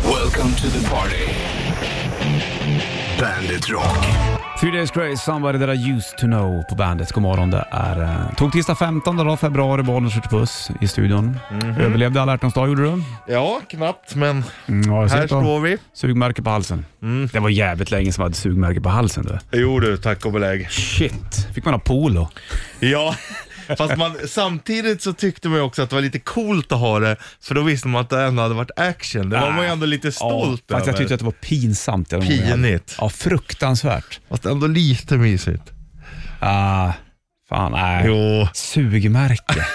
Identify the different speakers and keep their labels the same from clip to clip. Speaker 1: Welcome to the party. Bandit Rock.
Speaker 2: Three Days Grace, Somebody That I Used To Know på bandet. God morgon, det är eh, tog tisdag 15 dag, februari, Bollnäs skjuter puss i studion.
Speaker 3: Mhm.
Speaker 2: Överlevde alla hjärtans dag gjorde du.
Speaker 3: Ja, knappt, men
Speaker 2: Mm, ja, jag ser
Speaker 3: här
Speaker 2: det då.
Speaker 3: står Mm. vi.
Speaker 2: Sugmärke på halsen. Det var jävligt länge som jag hade sugmärke på halsen. Du.
Speaker 3: Jo du, tack och belägg.
Speaker 2: Shit, fick man ha polo?
Speaker 3: Ja, fast man, samtidigt så tyckte man ju också att det var lite coolt att ha det, för då visste man att det ändå hade varit action. Det var man ju ändå lite stolt
Speaker 2: Ah. ja, Fast jag
Speaker 3: över.
Speaker 2: tyckte att det var pinsamt. den gången.
Speaker 3: Pinigt.
Speaker 2: Ja, fruktansvärt.
Speaker 3: Fast ändå lite mysigt.
Speaker 2: Ah, fan, nej.
Speaker 3: Jo.
Speaker 2: Sugmärke.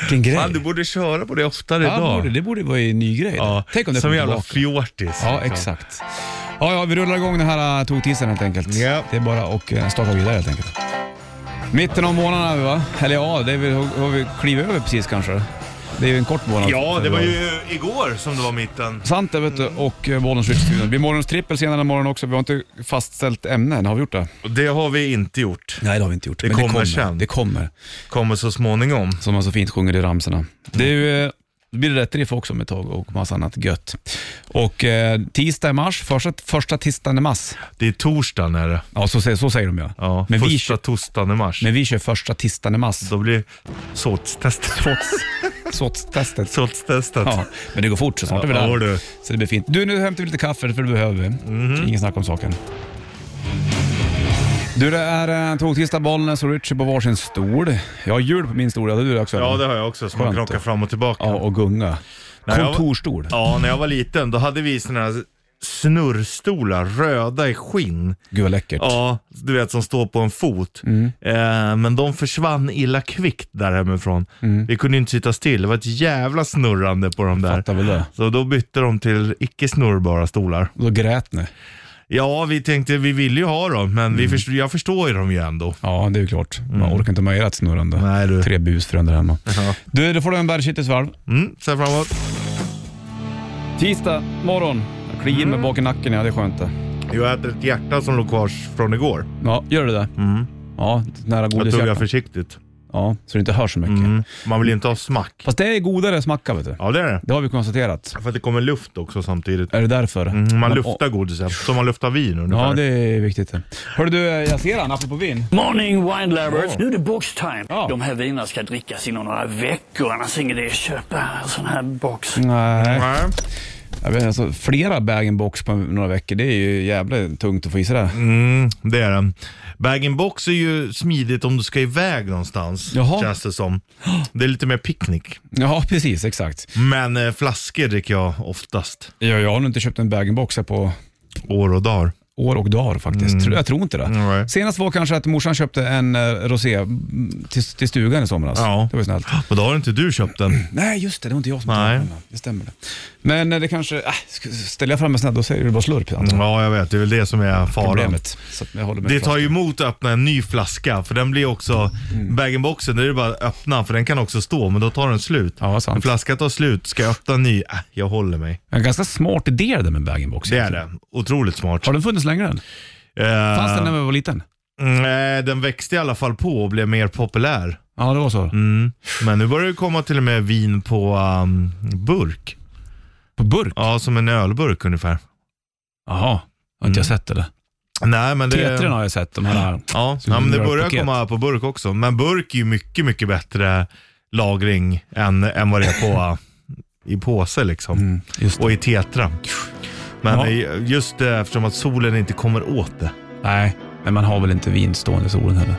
Speaker 2: Vilken grej.
Speaker 3: Fan, du borde köra på det oftare
Speaker 2: ja, det
Speaker 3: idag.
Speaker 2: borde, det borde vara en ny grej.
Speaker 3: Ja,
Speaker 2: Tänk om det
Speaker 3: som
Speaker 2: kommer
Speaker 3: jävla
Speaker 2: tillbaka.
Speaker 3: fjortis.
Speaker 2: Ja,
Speaker 3: liksom.
Speaker 2: exakt. Ja, ja, vi rullar igång den här eh, tog-tisdagen helt enkelt.
Speaker 3: Ja.
Speaker 2: Det är bara att eh, starta vidare helt enkelt. Mitten av månaden är vi va? Eller ja, det är vi, har vi klivit över precis kanske. Det är ju en kort månad.
Speaker 3: Ja, det var ju igår som det var mitten.
Speaker 2: Sant det vet du, och eh, Bollnäs Ritz-studion. Det blir morgons trippel senare imorgon också. Vi har inte fastställt ämne än, har vi gjort det?
Speaker 3: Och Det har vi inte gjort.
Speaker 2: Nej, det har vi inte gjort.
Speaker 3: Det
Speaker 2: Men
Speaker 3: kommer
Speaker 2: det kommer.
Speaker 3: sen.
Speaker 2: Det kommer,
Speaker 3: Kommer så småningom.
Speaker 2: som man så fint sjunger i ramsorna. Det är ju, eh, det blir rätt riff också om ett tag och massa annat gött. Och eh, tisdag i mars, första, första tisdagen i mars.
Speaker 3: Det är torsdagen är det.
Speaker 2: Ja, så, säger- så säger de ja.
Speaker 3: Ja,
Speaker 2: men, vi
Speaker 3: första
Speaker 2: kör,
Speaker 3: torsdagen i mars.
Speaker 2: men vi kör första tisdagen i mars.
Speaker 3: Då blir sortstestet.
Speaker 2: Sorts, sortstestet.
Speaker 3: Sortstestet.
Speaker 2: Ja, men det går fort så snart är vi
Speaker 3: Ja,
Speaker 2: där.
Speaker 3: du. Mhm.
Speaker 2: Så det blir fint. Du, nu hämtar vi lite kaffe för det behöver vi. Ingen snack om saken. Du, det är eh, tågtisdag, Bollnäs och Richie på varsin stol. Jag har hjul på min stol, hade du det också?
Speaker 3: Ja,
Speaker 2: eller?
Speaker 3: det har jag också. Så
Speaker 2: Skönt.
Speaker 3: man krockar fram och tillbaka.
Speaker 2: ja
Speaker 3: Ja.
Speaker 2: och gunga.
Speaker 3: Nej, jag var-
Speaker 2: Kontorstol.
Speaker 3: när jag var liten då hade vi såna här snurrstolar, röda i skinn.
Speaker 2: Gud vad läckert.
Speaker 3: Ja, du vet som står på en fot.
Speaker 2: Mm.
Speaker 3: Eh, men de försvann illa kvickt där hemifrån.
Speaker 2: Mm.
Speaker 3: Vi kunde ju inte sitta still. Det var ett jävla snurrande på de där.
Speaker 2: Fattar väl det.
Speaker 3: Så då bytte de till icke snurrbara stolar.
Speaker 2: Då grät ni.
Speaker 3: Ja, vi tänkte, vi ville ju ha dem, men
Speaker 2: Mm.
Speaker 3: vi förstår, jag förstår ju dem ju ändå.
Speaker 2: Ja, det är ju klart. Man orkar inte med ert snurrande.
Speaker 3: Mm. Nej, du.
Speaker 2: Tre busfrönder hemma.
Speaker 3: Ja.
Speaker 2: Du, då får du en bärkittelsvalv.
Speaker 3: Mm, sen framåt.
Speaker 2: Tisdag morgon. Jag kliar
Speaker 3: Mm.
Speaker 2: mig bak i nacken, ja det är skönt det.
Speaker 3: Jag äter ett hjärta som låg kvar från igår.
Speaker 2: Ja, gör du det?
Speaker 3: Mm.
Speaker 2: Ja, nära
Speaker 3: Jag
Speaker 2: godishjärtan.
Speaker 3: tog jag försiktigt.
Speaker 2: Ja, så det inte hörs så mycket.
Speaker 3: Mm. Man vill inte ha smack.
Speaker 2: Fast det är godare smacka vet du.
Speaker 3: Ja det är det.
Speaker 2: Det har vi konstaterat.
Speaker 3: För att det kommer luft också samtidigt.
Speaker 2: Är det därför?
Speaker 3: Mm, man
Speaker 2: Men-
Speaker 3: luftar godiset, som man luftar vin ungefär.
Speaker 2: Ja, det är viktigt. Hörru du, eh, jag ser han apropå vin.
Speaker 4: Morning wine lovers. Nu är det box time.
Speaker 2: Mm. Ja.
Speaker 4: De här vinerna ska drickas inom några veckor. Annars är det ingen idé att köpa en sån här box.
Speaker 2: Nej,
Speaker 3: Nej.
Speaker 2: jag vet, alltså, flera bag-in-box på några veckor, det är ju jävla tungt att få i sig det.
Speaker 3: Mm, det är den. Bag-in-box är ju smidigt om du ska iväg någonstans,
Speaker 2: Jaha.
Speaker 3: känns det som. Det är lite mer picknick.
Speaker 2: Ja, precis, exakt.
Speaker 3: Men eh, flaskor dricker jag oftast,
Speaker 2: Ja, jag har nog inte köpt en bag-in-box här på
Speaker 3: år och dagar.
Speaker 2: år och dagar
Speaker 3: Mm.
Speaker 2: faktiskt. Tror- Jag tror inte det.
Speaker 3: Nej.
Speaker 2: Senast var kanske att morsan köpte en eh, rosé mm, till, till stugan i somras.
Speaker 3: Ja.
Speaker 2: Det var ju snällt.
Speaker 3: Och då har inte du köpt den.
Speaker 2: Nej, just det. Det var inte jag som
Speaker 3: Nej.
Speaker 2: tog den. Det stämmer. det. Men eh, det kanske... Äh, sk- ställer jag fram en sån här, då säger du bara slurp. antar jag.
Speaker 3: Ja, jag vet. Det är väl det som är faran.
Speaker 2: Problemet. Så att jag håller med
Speaker 3: Mm. Det tar ju emot att öppna en ny flaska, för den blir också...
Speaker 2: Mm.
Speaker 3: Bag-in-boxen, det är det bara att öppna, för den kan också stå, men då tar den slut.
Speaker 2: Ja, sant.
Speaker 3: En flaska tar slut, ska jag öppna en ny? Äh, jag håller mig.
Speaker 2: En ganska smart idé det där med bag-in-box.
Speaker 3: Det är det. Otroligt smart.
Speaker 2: Har den funnits längre än?
Speaker 3: Eh,
Speaker 2: Fanns den när vi var liten?
Speaker 3: Nej, den växte i alla fall på och blev mer populär.
Speaker 2: Ja, det var så.
Speaker 3: Mm. Men nu börjar det komma till och med vin på um, burk.
Speaker 2: På burk?
Speaker 3: Ja, som en ölburk ungefär.
Speaker 2: Jaha. Har inte jag sett det?
Speaker 3: Nej, men Mm. det...
Speaker 2: Tetrin har jag sett. De här,
Speaker 3: Ja,
Speaker 2: Så
Speaker 3: ja men det
Speaker 2: gör ett
Speaker 3: börjar
Speaker 2: paket.
Speaker 3: komma på burk också. Men burk är ju mycket, mycket bättre lagring än, än vad det är på uh, i påse liksom.
Speaker 2: mm, just det.
Speaker 3: Och i tetra. Men
Speaker 2: Ja.
Speaker 3: eh, just det, eftersom att solen inte kommer åt det.
Speaker 2: Nej, men man har väl inte vin stående i solen heller?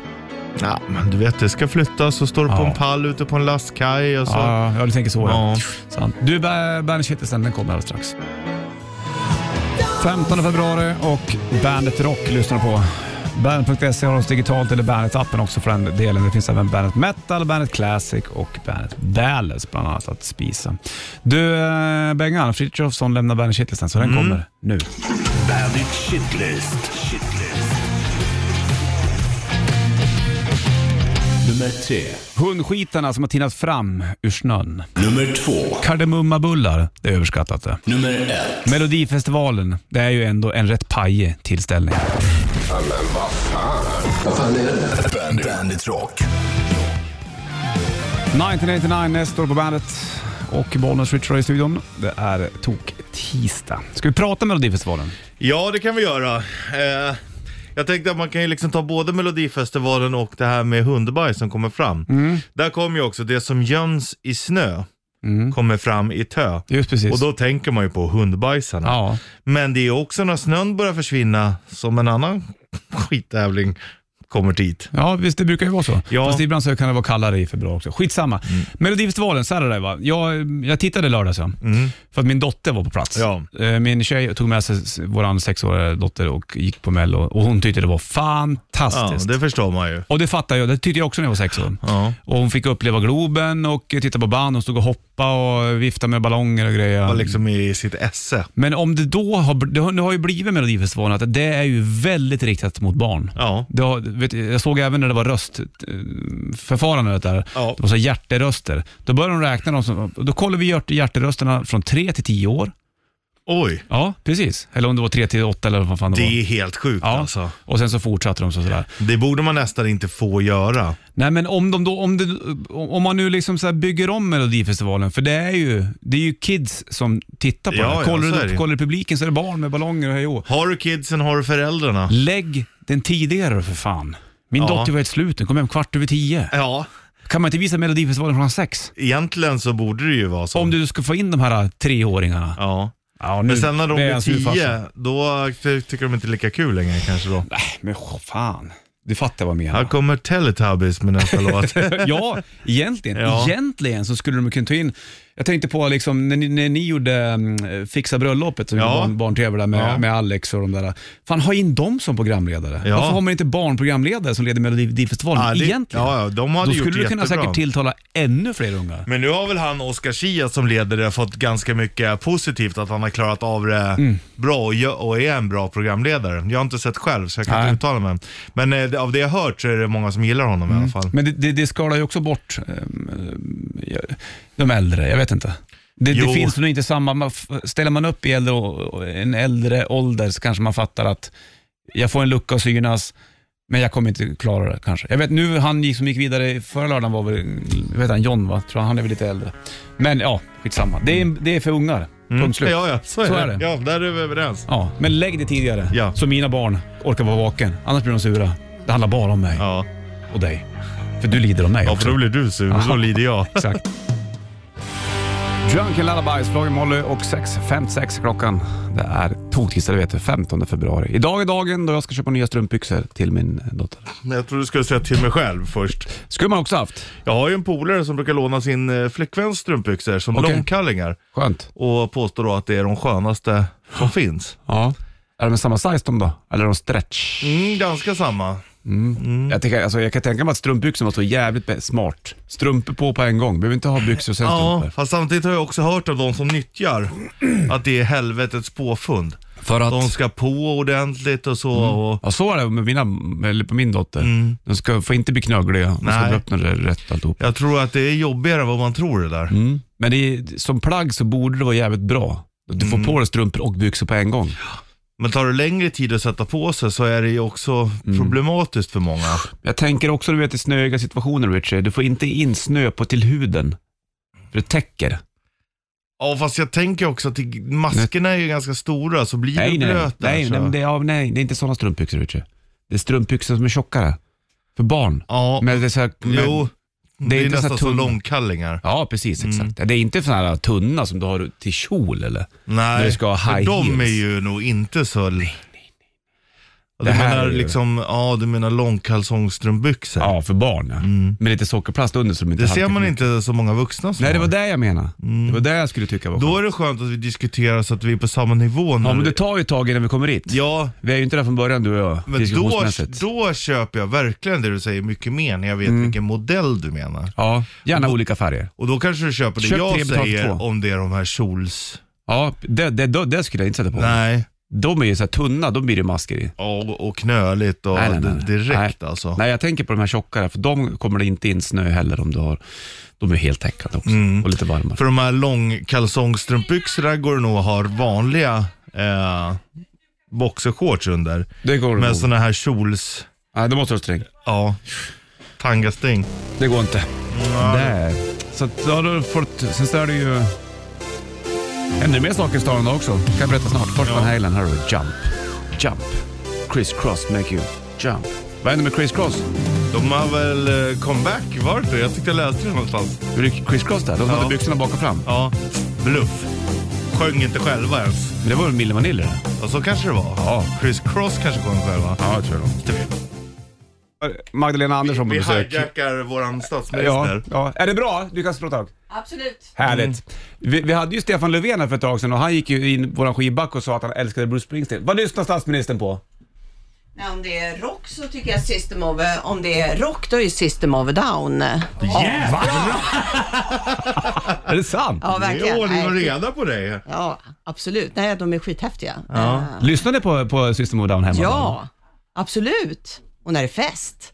Speaker 3: Ja, men du vet, det ska flyttas och står det på
Speaker 2: Ja.
Speaker 3: en pall ute på en lastkaj och så.
Speaker 2: Ja, jag tänker så. Ja.
Speaker 3: Ja.
Speaker 2: Sant. Du, Ba- Bandit Kittelsen, den kommer alldeles strax. 15 februari och Bandet Rock lyssnar du på. Bandet.se har oss digitalt eller Bandet-appen också för den delen. Det finns även Bandet Metal, Bandet Classic och Bandet Ballads bland annat att spisa. Du, eh, Bengan, Frithiofsson lämnar Bandet Kittelsen så den
Speaker 3: Mm.
Speaker 2: kommer nu.
Speaker 1: Bandit Shitlist. Shitlist. Nummer tre.
Speaker 2: Hundskitarna som har tinat fram ur snön.
Speaker 1: Nummer två.
Speaker 2: Kardemummabullar, det är överskattat det.
Speaker 1: Nummer ett.
Speaker 2: Melodifestivalen, det är ju ändå en rätt pajig tillställning.
Speaker 1: Bandit, Bandit Rock.
Speaker 2: 1989 nästa år på bandet och Bollnäs Richard i studion. Det är tok tisdag. Ska vi prata Melodifestivalen?
Speaker 3: Ja, det kan vi göra. Eh, jag tänkte att man kan ju liksom ta både Melodifestivalen och det här med hundbajs som kommer fram.
Speaker 2: Mm.
Speaker 3: Där kommer ju också det som göms i snö,
Speaker 2: Mm.
Speaker 3: kommer fram i tö.
Speaker 2: Just precis.
Speaker 3: Och då tänker man ju på hundbajsarna.
Speaker 2: Ja.
Speaker 3: Men det är också när snön börjar försvinna som en annan skittävling kommer dit.
Speaker 2: Ja, visst det brukar ju vara så.
Speaker 3: Ja. Mm.
Speaker 2: Fast ibland så kan det vara kallare i februari också. Skitsamma. Melodifestivalen, så här är det va. Jag, jag tittade i lördags ja. för att min dotter var på plats.
Speaker 3: Mm. Ja.
Speaker 2: Eh, Min tjej tog med sig s- vår sexåriga dotter och gick på Mello och hon tyckte det var
Speaker 3: Ja,
Speaker 2: fantastiskt.
Speaker 3: det förstår man ju.
Speaker 2: Och det fattar jag, det tyckte jag också när jag var sex år.
Speaker 3: Ja.
Speaker 2: Och hon fick uppleva Globen och titta på band, hon stod och hoppa och vifta med ballonger och grejer.
Speaker 3: Var liksom i sitt esse.
Speaker 2: Men om det då har, det har, det har ju blivit Melodifestivalen, att det är ju väldigt riktat mot barn.
Speaker 3: Ja.
Speaker 2: Det har, vet, du, jag såg även när det var röstförfarandet där,
Speaker 3: Ja.
Speaker 2: det var så här hjärteröster. Då började de räkna dem som, då kollar vi hjärt, hjärterösterna från 3 till 10 år.
Speaker 3: Oj,
Speaker 2: Ja, precis. Eller om det var 3 till 8 eller vad fan det,
Speaker 3: det
Speaker 2: var.
Speaker 3: är helt sjukt
Speaker 2: Ja,
Speaker 3: alltså.
Speaker 2: och sen så fortsatte de så sådär.
Speaker 3: Det borde man nästan inte få göra.
Speaker 2: Nej men om, de då, om, det, om man nu liksom så här bygger om Melodifestivalen, för det är ju, det är ju kids som tittar på
Speaker 3: Ja,
Speaker 2: det.
Speaker 3: ja,
Speaker 2: här. Kollar,
Speaker 3: så är
Speaker 2: du,
Speaker 3: det ju.
Speaker 2: kollar du publiken så är det barn med ballonger och hej och hå.
Speaker 3: Har du kidsen har du föräldrarna.
Speaker 2: Lägg den tidigare för fan. Min
Speaker 3: Ja.
Speaker 2: dotter var helt slut, den kom hem kvart över tio.
Speaker 3: Ja,
Speaker 2: Kan man inte visa Melodifestivalen från sex?
Speaker 3: egentligen så borde det ju vara så.
Speaker 2: Om du ska få in de här äh, treåringarna.
Speaker 3: Ja.
Speaker 2: Ja, nu
Speaker 3: Men sen när de
Speaker 2: är
Speaker 3: blir
Speaker 2: jag sur farsa.
Speaker 3: tio, då ty- tycker de inte lika kul längre kanske då.
Speaker 2: Nej, Äh, men åh, fan. Du fattar vad jag
Speaker 3: Här
Speaker 2: menar.
Speaker 3: kommer Teletubbies med nästa låt.
Speaker 2: ja, egentligen.
Speaker 3: Ja.
Speaker 2: Egentligen så skulle de kunna ta in, jag tänkte på liksom, när, ni, när ni gjorde mm, Fixa bröllopet, som
Speaker 3: Ja.
Speaker 2: ja. barn, barn-tv där med,
Speaker 3: Ja.
Speaker 2: med Alex och de där. Fan, ha in dem som programledare.
Speaker 3: Ja.
Speaker 2: Varför har man inte barnprogramledare som leder Melodifestivalen
Speaker 3: Ja, det-
Speaker 2: egentligen?
Speaker 3: ja, ja, de hade
Speaker 2: Då
Speaker 3: gjort
Speaker 2: skulle du kunna
Speaker 3: jättebra.
Speaker 2: säkert tilltala ännu fler unga.
Speaker 3: Men nu har väl han Oscar Schia som leder det fått ganska mycket positivt att han har klarat av det
Speaker 2: Mm.
Speaker 3: bra och, gö- och är en bra programledare. Jag har inte sett själv så jag kan
Speaker 2: Nej.
Speaker 3: inte uttala mig. Men eh, det- av det jag hört så är det många som gillar honom i
Speaker 2: Mm.
Speaker 3: alla fall.
Speaker 2: Men det, det, det skalar ju också bort ehm, eh, de äldre, jag vet inte. Det,
Speaker 3: Jo.
Speaker 2: det finns nog inte samma, man f- ställer man upp i äldre, å- å- en äldre ålder så kanske man fattar att jag får en lucka att synas, men jag kommer inte klara det kanske. Jag vet nu, han gick, som gick vidare i förra lördagen var väl, vad heter han, John va? Tror jag, han är väl lite äldre. Men ja, skitsamma. Det är, det är för ungar, punkt slut.
Speaker 3: Mm. Ja, ja, så är,
Speaker 2: Så
Speaker 3: det.
Speaker 2: är det.
Speaker 3: Ja, där är vi överens.
Speaker 2: Ja, men lägg det tidigare,
Speaker 3: Ja.
Speaker 2: så mina barn orkar vara vaken. Annars blir de sura. Det handlar bara om mig
Speaker 3: Ja,
Speaker 2: och dig. För du lider om mig
Speaker 3: ja
Speaker 2: också.
Speaker 3: för då blir du sur och så lider jag.
Speaker 2: Exakt. Drunken Lullabies, Roger Molly och 6.56 klockan. Det är toktisdag, det vet du, 15 februari. Idag är dagen då jag ska köpa nya strumpbyxor till min dotter.
Speaker 3: Jag tror du skulle säga till mig själv först.
Speaker 2: Skulle man också haft.
Speaker 3: Jag har ju en polare som brukar låna sin eh, flickväns strumpbyxor som
Speaker 2: Okej.
Speaker 3: långkallingar
Speaker 2: Skönt.
Speaker 3: och påstår då att det är de skönaste som finns.
Speaker 2: Ja. Är de samma size de då? Eller är de stretch?
Speaker 3: Mm, ganska samma.
Speaker 2: Jag, tänker, alltså, jag kan tänka mig att strumpbyxor måste vara jävligt be- smart. Strumpor på på en gång. Behöver inte ha byxor och sen
Speaker 3: Ja,
Speaker 2: strumpor.
Speaker 3: fast samtidigt har jag också hört av de som nyttjar att det är helvetets påfund.
Speaker 2: För att... Mm.
Speaker 3: De ska på ordentligt och så. Och,
Speaker 2: Ja, så är det med mina, eller på min dotter. De ska, får inte bli knögliga. De ska
Speaker 3: Nej.
Speaker 2: bli öppna rätt alltihop.
Speaker 3: jag tror att det är jobbigare än vad man tror det där.
Speaker 2: Mm. Men det är, som plagg så borde det vara jävligt bra. Du
Speaker 3: Mm.
Speaker 2: får på dig strumpor och byxor på en gång.
Speaker 3: Men tar det längre tid att sätta på sig så är det ju också
Speaker 2: Mm.
Speaker 3: problematiskt för många.
Speaker 2: Jag tänker också du vet, i snöiga situationer, Richie. Du får inte in snö på till huden. För det täcker.
Speaker 3: Ja, fast jag tänker också att det- maskerna är ju ganska stora så blir
Speaker 2: Nej,
Speaker 3: du
Speaker 2: nej, nej.
Speaker 3: blöt alltså. där.
Speaker 2: Nej,
Speaker 3: så.
Speaker 2: nej, men det, ja, nej, det är inte sådana strumpbyxor, Richie. Det är strumpbyxor som är tjockare. För barn.
Speaker 3: Ja,
Speaker 2: Men det är så här, men,
Speaker 3: jo. Det är,
Speaker 2: inte så
Speaker 3: nästan
Speaker 2: här
Speaker 3: som
Speaker 2: tunn-
Speaker 3: långkallingar.
Speaker 2: Ja, precis.
Speaker 3: Mm.
Speaker 2: Exakt. Det är inte sådana här tunna som du har till kjol eller? När
Speaker 3: Nej,
Speaker 2: du ska ha
Speaker 3: för
Speaker 2: high
Speaker 3: de är
Speaker 2: heels.
Speaker 3: ju nog inte så... Nej, nej, Du
Speaker 2: Det här
Speaker 3: menar
Speaker 2: är ju-
Speaker 3: liksom, ja du menar långkalsongstrumpbyxor?
Speaker 2: Ja, för barn ja. Med lite sockerplast under så de inte
Speaker 3: Mm. Det ser
Speaker 2: halkar
Speaker 3: man
Speaker 2: ner.
Speaker 3: inte så många vuxna som
Speaker 2: Nej, det var
Speaker 3: har.
Speaker 2: det jag menade. Det var det jag skulle tycka var
Speaker 3: Då är det skönt att vi diskuterar så att vi är på samma nivå. När
Speaker 2: Ja, men det tar ju tag innan vi kommer dit.
Speaker 3: ja,
Speaker 2: Vi är ju inte där från början du och jag,
Speaker 3: men då,
Speaker 2: diskussionsmässigt. Mm.
Speaker 3: då köper jag verkligen det du säger mycket mer när jag vet vilken modell du menar.
Speaker 2: Ja, gärna olika färger.
Speaker 3: Och då kanske du köper det
Speaker 2: Köp tre,
Speaker 3: jag
Speaker 2: betala
Speaker 3: säger
Speaker 2: två.
Speaker 3: om det är de här kjols...
Speaker 2: Ja, det, det, det, det skulle jag inte sätta på.
Speaker 3: Nej,
Speaker 2: De är ju så här tunna, de blir det masker i.
Speaker 3: Ja, och, och knöligt och
Speaker 2: Nej, nej, nej, nej.
Speaker 3: direkt
Speaker 2: Nej.
Speaker 3: alltså.
Speaker 2: Nej, jag tänker på de här tjockare, för de kommer det inte in snö heller om du har. De är heltäckande också och lite varmare.
Speaker 3: Mm. För de här långkalsongstrumpbyxorna går det nog att ha vanliga eh, boxershorts under.
Speaker 2: Det går
Speaker 3: Med
Speaker 2: nog.
Speaker 3: sådana här kjols...
Speaker 2: Nej, då måste du ha sträng.
Speaker 3: Ja, tangasting.
Speaker 2: Det går inte. Där. Så att, ja, då har du fått, sen så är det ju Händer det mer saker i stan idag också? kan jag berätta snart. Först Van Halen, här har vi Jump. Jump. Chris Cross, make you jump. Vad händer med Chris Cross?
Speaker 3: De har väl eh, comeback, var det inte? Jag tyckte jag läste det någonstans.
Speaker 2: Hur är Chris Cross där? De hade
Speaker 3: Ja.
Speaker 2: byxorna bak och fram.
Speaker 3: Ja, bluff. Sjöng inte själva ens.
Speaker 2: Men det var väl Mille Vanille? det?
Speaker 3: Och så kanske det var.
Speaker 2: Ja.
Speaker 3: Chris Cross kanske sjöng själva. Typ.
Speaker 2: Ja, jag tror det. Magdalena Andersson på
Speaker 3: Vi
Speaker 2: besök.
Speaker 3: hijackar våran
Speaker 2: Ja,
Speaker 3: statsminister.
Speaker 2: ja. Är det bra? Du kan slå tag.
Speaker 5: Absolut.
Speaker 2: Härligt.
Speaker 3: Mm.
Speaker 2: Vi, vi hade ju Stefan Löfven här för ett tag sedan och han gick ju in våran skivback och sa att han älskade Bruce Springsteen. Vad lyssnar statsministern på?
Speaker 5: Nej, om det är rock så tycker jag System of a, om det är rock då är System of a Down.
Speaker 3: Jävlar!
Speaker 2: Är det sant?
Speaker 5: Ja,
Speaker 3: Det är
Speaker 5: verkligen.
Speaker 3: ordning och
Speaker 5: Nej,
Speaker 3: reda på dig.
Speaker 5: Ja, absolut. Nej, de är skithäftiga. Eh,
Speaker 2: Lyssnar ni på, på System of a Down hemma?
Speaker 5: Ja, absolut. Och när det är fest.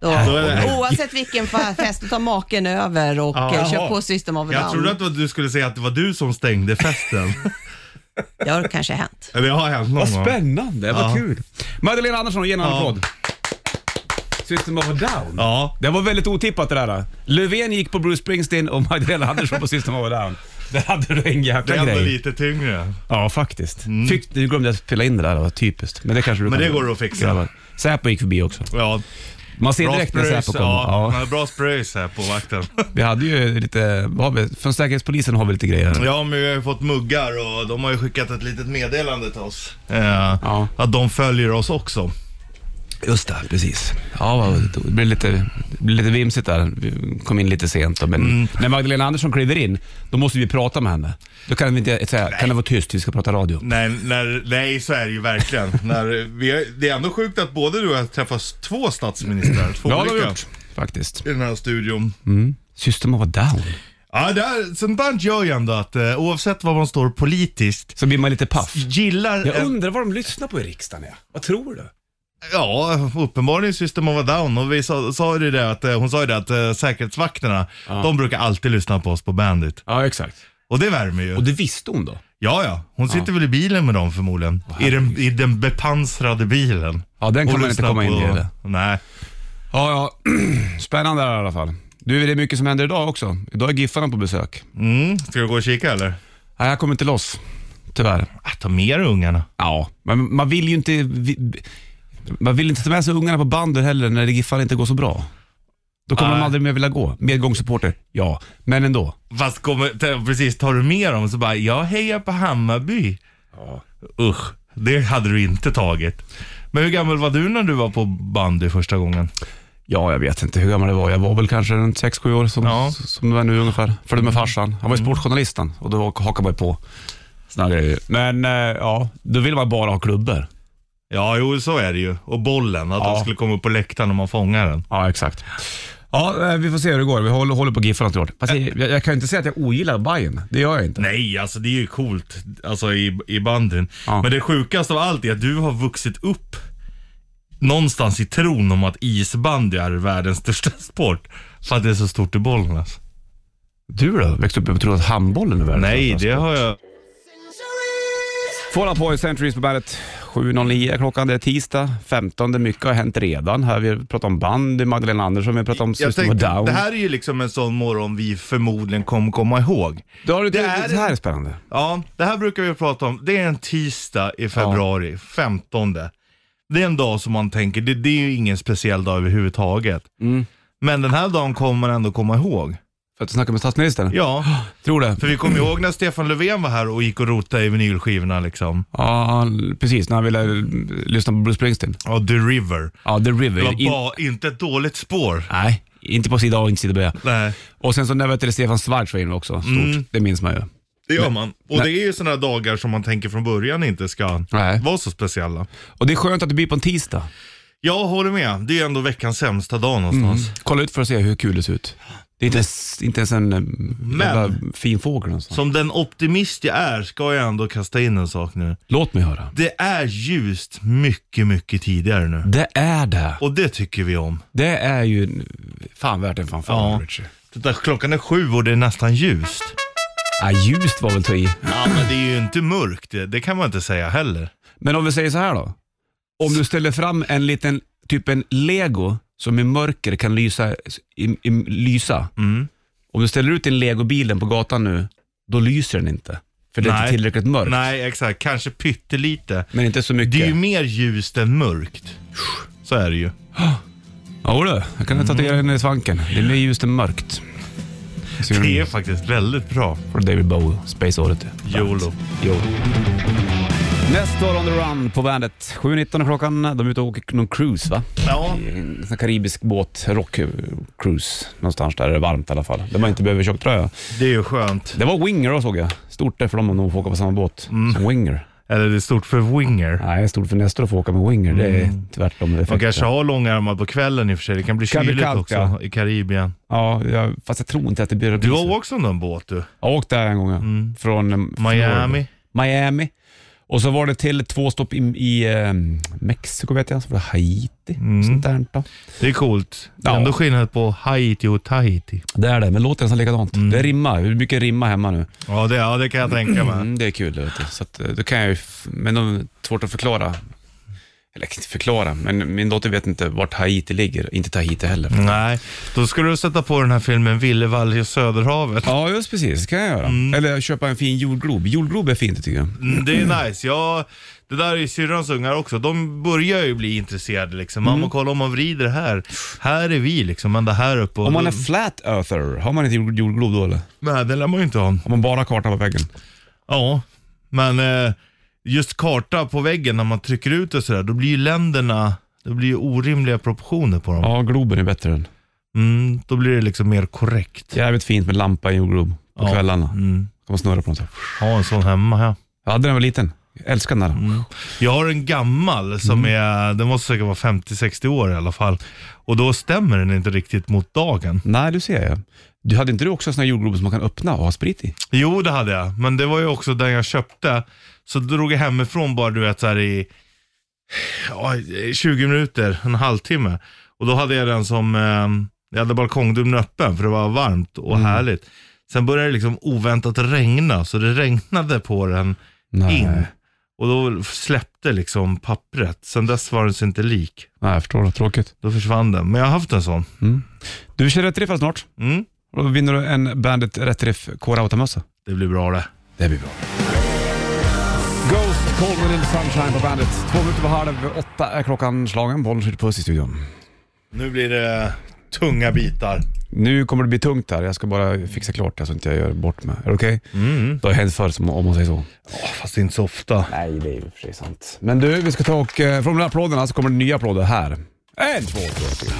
Speaker 5: Då,
Speaker 3: Då är det-
Speaker 5: Oavsett vilken fa- fest, då tar maken över och
Speaker 3: Ja,
Speaker 5: eh,
Speaker 3: jaha.
Speaker 5: kör på System of a
Speaker 3: Jag trodde
Speaker 5: Down.
Speaker 3: att det var- du skulle säga att det var du som stängde festen.
Speaker 5: Det har kanske hänt.
Speaker 3: Eller det har hänt någon
Speaker 2: Vad
Speaker 3: gång.
Speaker 2: spännande, vad
Speaker 3: Ja.
Speaker 2: kul. Magdalena Andersson, ge en
Speaker 3: Ja.
Speaker 2: applåd. System of a Down.
Speaker 3: Ja.
Speaker 2: Det var väldigt otippat det där. Löfven gick på Bruce Springsteen och Magdalena Andersson på System of a Down. Där hade du en
Speaker 3: Det
Speaker 2: jäkla
Speaker 3: är ändå
Speaker 2: grej.
Speaker 3: lite tyngre.
Speaker 2: Ja, faktiskt. Fick, nu glömde jag spela in det där, det var typiskt. Men det kanske du
Speaker 3: Men
Speaker 2: kan-
Speaker 3: det går att fixa.
Speaker 2: Grabbar. Säpo gick förbi också.
Speaker 3: Ja,
Speaker 2: Man ser
Speaker 3: bra
Speaker 2: direkt när
Speaker 3: spröjs.
Speaker 2: Säpo kommer.
Speaker 3: Ja,
Speaker 2: Ja.
Speaker 3: men Bra spröjs här på vakten.
Speaker 2: Vi hade ju lite, vad har vi, från Säkerhetspolisen har vi lite grejer. här.
Speaker 3: Ja, men vi har ju fått muggar och de har ju skickat ett litet meddelande till oss. Eh,
Speaker 2: Ja.
Speaker 3: Att de följer oss också.
Speaker 2: Just det, precis. Ja, vad- Mm. det blev lite, det blev lite vimsigt där. Vi kom in lite sent då, men när Magdalena Andersson kliver in, då måste vi prata med henne. Då kan vi inte säga, kan det vara tyst, vi ska prata radio.
Speaker 3: Nej, när, nej så är det ju verkligen. när vi, har- det är ändå sjukt att både du och jag träffas två statsministrar, två
Speaker 2: Ja, det har vi
Speaker 3: olika,
Speaker 2: gjort. Faktiskt. Mm.
Speaker 3: i den här studion.
Speaker 2: System of a down.
Speaker 3: Ja, det här, sånt där gör ju ändå att eh, oavsett vad man står politiskt,
Speaker 2: Så blir man lite paff.
Speaker 3: gillar...
Speaker 2: Jag
Speaker 3: en-
Speaker 2: undrar vad de lyssnar på i riksdagen. Ja. Vad tror du?
Speaker 3: Ja, uppenbarligen System of a Down. Och vi sa, sa ju det att, eh, hon sa ju det att eh, säkerhetsvakterna, de brukar alltid lyssna på oss på Bandit.
Speaker 2: Ja, exakt.
Speaker 3: Och det värmer ju.
Speaker 2: Och det visste hon då?
Speaker 3: Ja, ja. Hon sitter väl i bilen med dem förmodligen. I, den, I den bepansrade bilen.
Speaker 2: Ja, den kan
Speaker 3: Och
Speaker 2: man inte
Speaker 3: lyssnar
Speaker 2: komma in i,
Speaker 3: på-
Speaker 2: eller?
Speaker 3: Nej.
Speaker 2: Ja, ja. Spännande här i alla fall. Du, det är mycket som händer idag också. Idag är Giffarna på besök.
Speaker 3: Mm. Ska du gå och kika eller?
Speaker 2: Nej, jag kommer inte loss. Tyvärr.
Speaker 3: Ah, ta med dig ungarna.
Speaker 2: Ja, men man vill ju inte... vi- Man vill inte ta med sig ungarna på bandet heller när det Giffarna inte går så bra. Då kommer
Speaker 3: Nej.
Speaker 2: de aldrig mer vilja gå. Medgångssupporter, ja. Men ändå.
Speaker 3: Fast kommer, t- precis, tar du med dem så bara, jag hejar på Hammarby. Usch, det hade du inte tagit. Men hur gammal var du när du var på bandy första gången?
Speaker 2: Ja, jag vet inte hur gammal jag var. Jag var väl kanske runt 6-7 år som,
Speaker 3: Ja.
Speaker 2: som jag är nu ungefär. Följde med farsan. Han var ju sportjournalisten och då hakade man ju på. Såna grejer. Men eh, ja, då vill man bara ha klubbor.
Speaker 3: Ja, jo så är det ju. Och bollen, att
Speaker 2: Ja.
Speaker 3: den skulle komma upp på läktaren om man fångar den.
Speaker 2: Ja, exakt. Ja, eh, vi får se hur det går. Vi håller, håller på Giffarna tror jag. Fast jag, jag- jag kan ju inte säga att jag ogillar Bayern. Det gör jag inte.
Speaker 3: Nej, alltså det är ju coolt alltså, i, i bandyn.
Speaker 2: Ja.
Speaker 3: Men det sjukaste av allt är att du har vuxit upp någonstans i tron om att isbandy är världens största sport. För att det är så stort i bollen alltså.
Speaker 2: Du då? Växte upp och trodde att handbollen är världens
Speaker 3: Nej,
Speaker 2: största
Speaker 3: det har jag...
Speaker 2: Fall Out Boy, Centuries på bandet. 7.09 är klockan, det är tisdag 15. Mycket har hänt redan. Här vi pratar om bandy, Magdalena Andersson, vi pratar om
Speaker 3: Jag
Speaker 2: System of
Speaker 3: tänkte,
Speaker 2: Down.
Speaker 3: det här är ju liksom en sån morgon vi förmodligen kommer komma ihåg.
Speaker 2: Då har du, det,
Speaker 3: det
Speaker 2: här...
Speaker 3: här-
Speaker 2: det här är spännande.
Speaker 3: Ja, det här brukar vi prata om. Det är en tisdag i februari, 15. Det är en dag som man tänker, det, det är ju ingen speciell dag överhuvudtaget.
Speaker 2: Mm.
Speaker 3: Men den här dagen kommer man ändå komma ihåg.
Speaker 2: För att du snackar med statsministern?
Speaker 3: Ja,
Speaker 2: Tror det.
Speaker 3: för vi kommer ihåg när Stefan Löfven var här och gick och rotade i vinylskivorna liksom.
Speaker 2: Ja, han- precis. När han ville eh, lyssna på Bruce Springsteen.
Speaker 3: Ja, The River.
Speaker 2: Ja, The River.
Speaker 3: Det var
Speaker 2: In-
Speaker 3: bara inte ett dåligt spår.
Speaker 2: Nej, inte på sida A och inte sida B.
Speaker 3: Nej,
Speaker 2: Och sen så när vet du, Stefan Schwarz var inne också, stort.
Speaker 3: Mm.
Speaker 2: Det minns man ju.
Speaker 3: det gör man. Och
Speaker 2: Nej.
Speaker 3: det är ju sådana dagar som man tänker från början inte ska
Speaker 2: Nej.
Speaker 3: vara så speciella.
Speaker 2: Och det är skönt att det blir på en tisdag.
Speaker 3: Jag håller med. Det är ändå veckans sämsta dag någonstans.
Speaker 2: Kolla ut för att se hur kul det ser ut. Det är inte ens, inte ens en eh, jävla fin fågel någonstans.
Speaker 3: Som den optimist jag är ska jag ändå kasta in en sak nu.
Speaker 2: Låt mig höra.
Speaker 3: Det är ljust mycket, mycket tidigare nu.
Speaker 2: Det är det.
Speaker 3: Och det tycker vi om.
Speaker 2: Det är ju fan värt en fanfar,
Speaker 3: Ja.
Speaker 2: Richie.
Speaker 3: Titta, klockan är sju och det är nästan ljust.
Speaker 2: Ja, ljust var väl ta i.
Speaker 3: Ja, men det är ju inte mörkt. Det, det kan man inte säga heller.
Speaker 2: Men om vi säger så här då. Om du ställer fram en liten, typ en lego som i mörker kan lysa. I, i,
Speaker 3: Mm.
Speaker 2: lysa. Om du ställer ut din legobilen på gatan nu, då lyser den inte. För det är inte
Speaker 3: Nej.
Speaker 2: tillräckligt mörkt.
Speaker 3: Nej, exakt. Kanske pyttelite.
Speaker 2: Men inte så mycket.
Speaker 3: Det är ju mer ljust än mörkt. Så är det ju.
Speaker 2: Mm. Jo du, jag kan tatuera
Speaker 3: Mm.
Speaker 2: den i svanken. Det blir ljust och mörkt. Så gör
Speaker 3: Det
Speaker 2: de-
Speaker 3: är faktiskt väldigt bra.
Speaker 2: Från David Bowie, Space Oddity.
Speaker 3: YOLO.
Speaker 2: YOLO. Nästa år on the run på bandet. 7.19 är klockan. De är ute och åker någon cruise va?
Speaker 3: Ja.
Speaker 2: I En sån här karibisk båt, rockcruise. Någonstans där det är varmt i alla fall. Där man inte behöver tjocktröja.
Speaker 3: Det är ju skönt.
Speaker 2: Det var Winger då såg jag. Stort där för dem om de får åka på samma båt
Speaker 3: Mm.
Speaker 2: som Winger.
Speaker 3: Eller det är stort för winger.
Speaker 2: Nej, stort för Nestor att få åka med Winger. Det är
Speaker 3: Mm.
Speaker 2: tvärtom
Speaker 3: Man kanske
Speaker 2: effekten.
Speaker 3: har långa armar på kvällen i och för sig. Det kan bli
Speaker 2: Kan bli
Speaker 3: kyligt
Speaker 2: kallt,
Speaker 3: också
Speaker 2: ja.
Speaker 3: i Karibien.
Speaker 2: Ja, jag, fast jag tror inte att det blir
Speaker 3: Du
Speaker 2: repriser.
Speaker 3: har också någon båt du. Mm.
Speaker 2: Jag har åkt där en gång ja. Från eh, Florida.
Speaker 3: Miami.
Speaker 2: Miami. Och så var det till två stopp i, i eh, Mexiko vet jag, så var det Haiti.
Speaker 3: Mm.
Speaker 2: Sånt där då.
Speaker 3: Det är coolt. Det är
Speaker 2: Ja.
Speaker 3: ändå skillnad på Haiti och Tahiti.
Speaker 2: Det är det, men låter nästan likadant.
Speaker 3: Mm.
Speaker 2: Det rimmar, det är mycket rimma hemma nu.
Speaker 3: Ja, det, ja, det kan jag tänka mig.
Speaker 2: Mm, det är kul, det vet du. Så att, eh, då kan jag ju, f- men det är svårt att förklara. Eller inte förklara, men min dotter vet inte vart Haiti ligger. Inte Tahiti heller.
Speaker 3: Nej, då skulle du sätta på den här filmen Villevall i Söderhavet.
Speaker 2: Ja, just precis. Det kan jag göra. Eller köpa en fin jordglob. Jordglob är fint tycker jag.
Speaker 3: Mm, Det är nice. Ja, det där är ju syrrans ungar också. De börjar ju bli intresserade liksom. Mamma, kolla om man vrider här. Här är vi liksom, ända här uppe. Och
Speaker 2: Om man är flat earther, har man inte jord- jordglob då eller?
Speaker 3: Nej, det lär man ju inte ha.
Speaker 2: Om man bara har kartan på väggen?
Speaker 3: Ja, men eh, just karta på väggen när man trycker ut och sådär, då blir ju länderna, det blir ju orimliga proportioner på dem.
Speaker 2: Ja, globen är bättre än.
Speaker 3: Mm, då blir det liksom mer korrekt.
Speaker 2: Jävligt fint med lampa i jordglob på
Speaker 3: Ja.
Speaker 2: kvällarna.
Speaker 3: Mm.
Speaker 2: Kan man snurra på något.
Speaker 3: Ha en sån hemma, ja.
Speaker 2: Jag hade den när jag var liten. Jag älskar den där.
Speaker 3: Mm. Jag har en gammal som är, den måste säkert vara 50-60 år i alla fall. Och då stämmer den inte riktigt mot dagen.
Speaker 2: Nej, du ser jag. Du hade inte du också en sån här jordglob som man kan öppna och ha sprit i?
Speaker 3: Jo, det hade jag. Men det var ju också den jag köpte. Så drog jag hemifrån bara du vet så här i ja, i 20 minuter, en halvtimme. Och då hade jag den som, eh, jag hade balkongdörren öppen för det var varmt och härligt. Sen började det liksom oväntat regna, så det regnade på den
Speaker 2: Nej.
Speaker 3: in. Och då släppte liksom pappret. Sen dess var den så inte lik.
Speaker 2: Nej, jag förstår. Det. Tråkigt.
Speaker 3: Då försvann den. Men jag har haft en sån.
Speaker 2: Du kör rätt riff här snart.
Speaker 3: Mm.
Speaker 2: Och då vinner du en Bandit Rätt Riff K-Rauta-mössa.
Speaker 3: Det blir bra det.
Speaker 2: Det blir bra. Ghost, Cold with Little Sunshine på Bandit. Två minuter på halv åtta är klockan slagen. Bollnäs Puss i studion.
Speaker 3: Nu blir det tunga bitar.
Speaker 2: Nu kommer det bli tungt här. Jag ska bara fixa klart det så att jag inte gör bort mig. Är det okej?
Speaker 3: Mm.
Speaker 2: Det har hänt förr, som- om man säger så.
Speaker 3: Fast inte så ofta.
Speaker 2: Nej, det är ju för sig sant. Men du, vi ska ta och eh, från de här applåderna så kommer det nya applåder här. En, två, tre, fyra.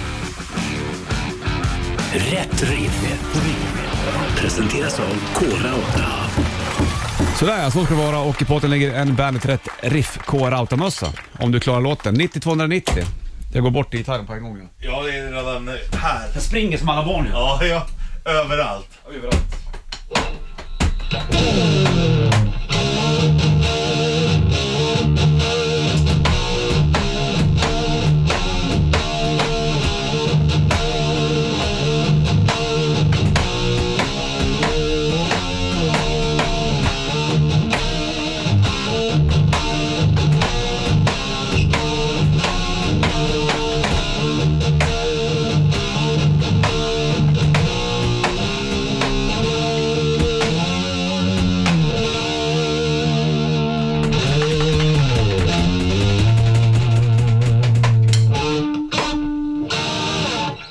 Speaker 1: Rätt riff. Presenteras av Kora 8.
Speaker 2: Sådär ja, så ska det vara och i potten ligger en Bandet Rätt Riff K-Rauta-mössa. Om du klarar låten. 90-290. Jag går bort till gitarren på en gång. ja.
Speaker 3: Ja, det är redan här.
Speaker 2: Jag springer som alla barn ja.
Speaker 3: Ja, ja. Överallt.
Speaker 2: Överallt.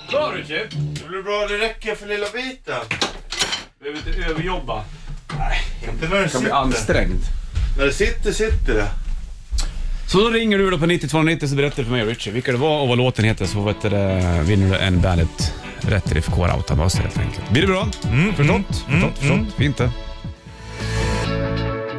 Speaker 2: Bra du Chip!
Speaker 3: Det blir bra, det räcker för lilla biten.
Speaker 2: Behöver inte överjobba.
Speaker 3: Inte när det
Speaker 2: Kan bli
Speaker 3: sitter.
Speaker 2: ansträngd.
Speaker 3: När det sitter, sitter det.
Speaker 2: Så då ringer du då på 90-290 så berättar du för mig och Richie vilka det var och vad låten heter så vet du, det, vinner du en Bandet Rätt Riff K-Rauta-mössa helt enkelt. Blir det bra? Förstått? förstått, förstått. Fint det.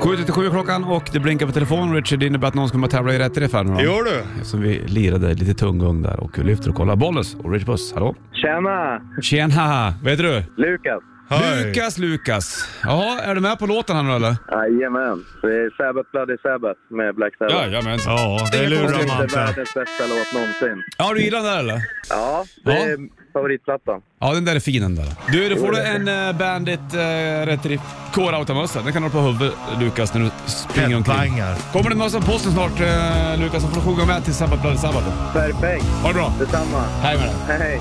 Speaker 2: 7.37 klockan och det blinkar på telefonen Richard. Det innebär att någon ska komma och tävla i rätt riff här nu då.
Speaker 3: Gör du?
Speaker 2: Eftersom vi lirade lite tunggung där och lyfter och kollar. Bollnäs och Richard Puss, hallå?
Speaker 6: Tjena!
Speaker 2: Tjena! Vad heter du?
Speaker 6: Lukas.
Speaker 2: Lukas, Lukas. Jaha, är du med på låten här nu eller?
Speaker 6: Jajamän. Det är Sabbath Bloody Sabbath med Black Sabbath.
Speaker 2: Jajamensan.
Speaker 3: Ja, det lurar man
Speaker 6: Det är
Speaker 3: sig.
Speaker 6: världens bästa låt någonsin.
Speaker 2: Ja, du gillar den där eller?
Speaker 6: Ja, det
Speaker 2: Ja.
Speaker 6: är favoritplattan.
Speaker 2: Ja, den där är fin den där. Du, då får du en eh, Bandit äh, Retrip K-Rauta-mössa. Den kan du ha på huvudet Lukas när du springer omkring.
Speaker 3: Headbangar.
Speaker 2: Kommer det en mössa på posten snart eh, Lukas, så får du sjunga med till Sabbath Bloody Sabbath.
Speaker 6: Perfekt.
Speaker 2: Ha det bra.
Speaker 6: Detsamma.
Speaker 2: Hej med dig.
Speaker 6: Hej.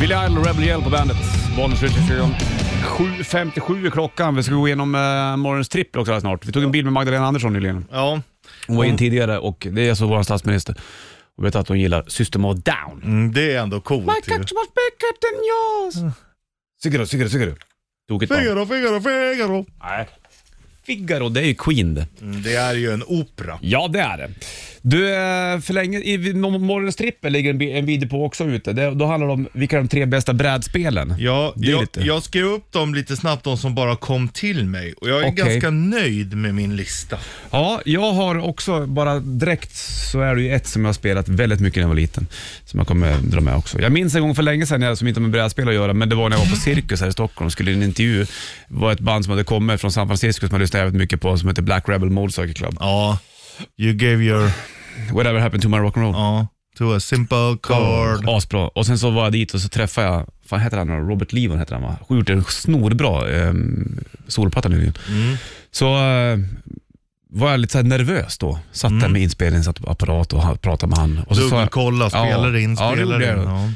Speaker 2: Billy Idol och Rebel Yell på bandet. Bonus Richardson. 7.57 är klockan. Vi ska gå igenom eh, morgonens trippel också här snart. Vi tog en bild med Magdalena Andersson nyligen.
Speaker 3: Ja.
Speaker 2: Hon var in tidigare och det är alltså vår statsminister. Och vet att hon gillar System of Down.
Speaker 3: Mm, det är ändå coolt ju.
Speaker 2: var bäckert än jag. Sigrid, Sigrid, Sigrid. Tokigt barn.
Speaker 3: Figaro, Figaro, Figaro.
Speaker 2: Nej. Figaro, det är ju Queen det.
Speaker 3: Mm, det är ju en opera.
Speaker 2: Ja, det är det. Du, eh, för länge, i vi- morgonens trippel ligger en, bi- en video på också ute. Det, då handlar det om vilka de tre bästa brädspelen.
Speaker 3: Ja,
Speaker 2: det är
Speaker 3: jag,
Speaker 2: lite.
Speaker 3: jag skrev upp dem lite snabbt, de som bara kom till mig. Och jag är
Speaker 2: Okej.
Speaker 3: ganska nöjd med min lista.
Speaker 2: Ja, jag har också, bara direkt så är det ju ett som jag har spelat väldigt mycket när jag var liten. Som jag kommer dra med också. Jag minns en gång för länge sedan, när jag- som inte har med brädspel att göra, men det var när jag var på Cirkus här i Stockholm och skulle i en intervju. Det var ett band som hade kommit från San Francisco som jag lyssnade jävligt mycket på, som heter Black Rebel Motorcycle Club.
Speaker 3: Ja, you gave your,
Speaker 2: Whatever happened to my rock'n'roll.
Speaker 3: ja, to a simple chord.
Speaker 2: Asbra. Och sen så var jag dit och så träffade jag, fan heter han, Robert Levon heter han va? Han gjort en snorbra eh, solplatta nyligen.
Speaker 3: Mm.
Speaker 2: Så eh, var jag lite så här nervös då. Satt där
Speaker 3: Mm.
Speaker 2: med inspelningen, satt på apparat och ha- pratade med han. Och så, sa jag,
Speaker 3: Dubbelkolla, spelar
Speaker 2: Ja,
Speaker 3: in,
Speaker 2: ja, det
Speaker 3: spelar
Speaker 2: gjorde jag.
Speaker 3: in. Ja.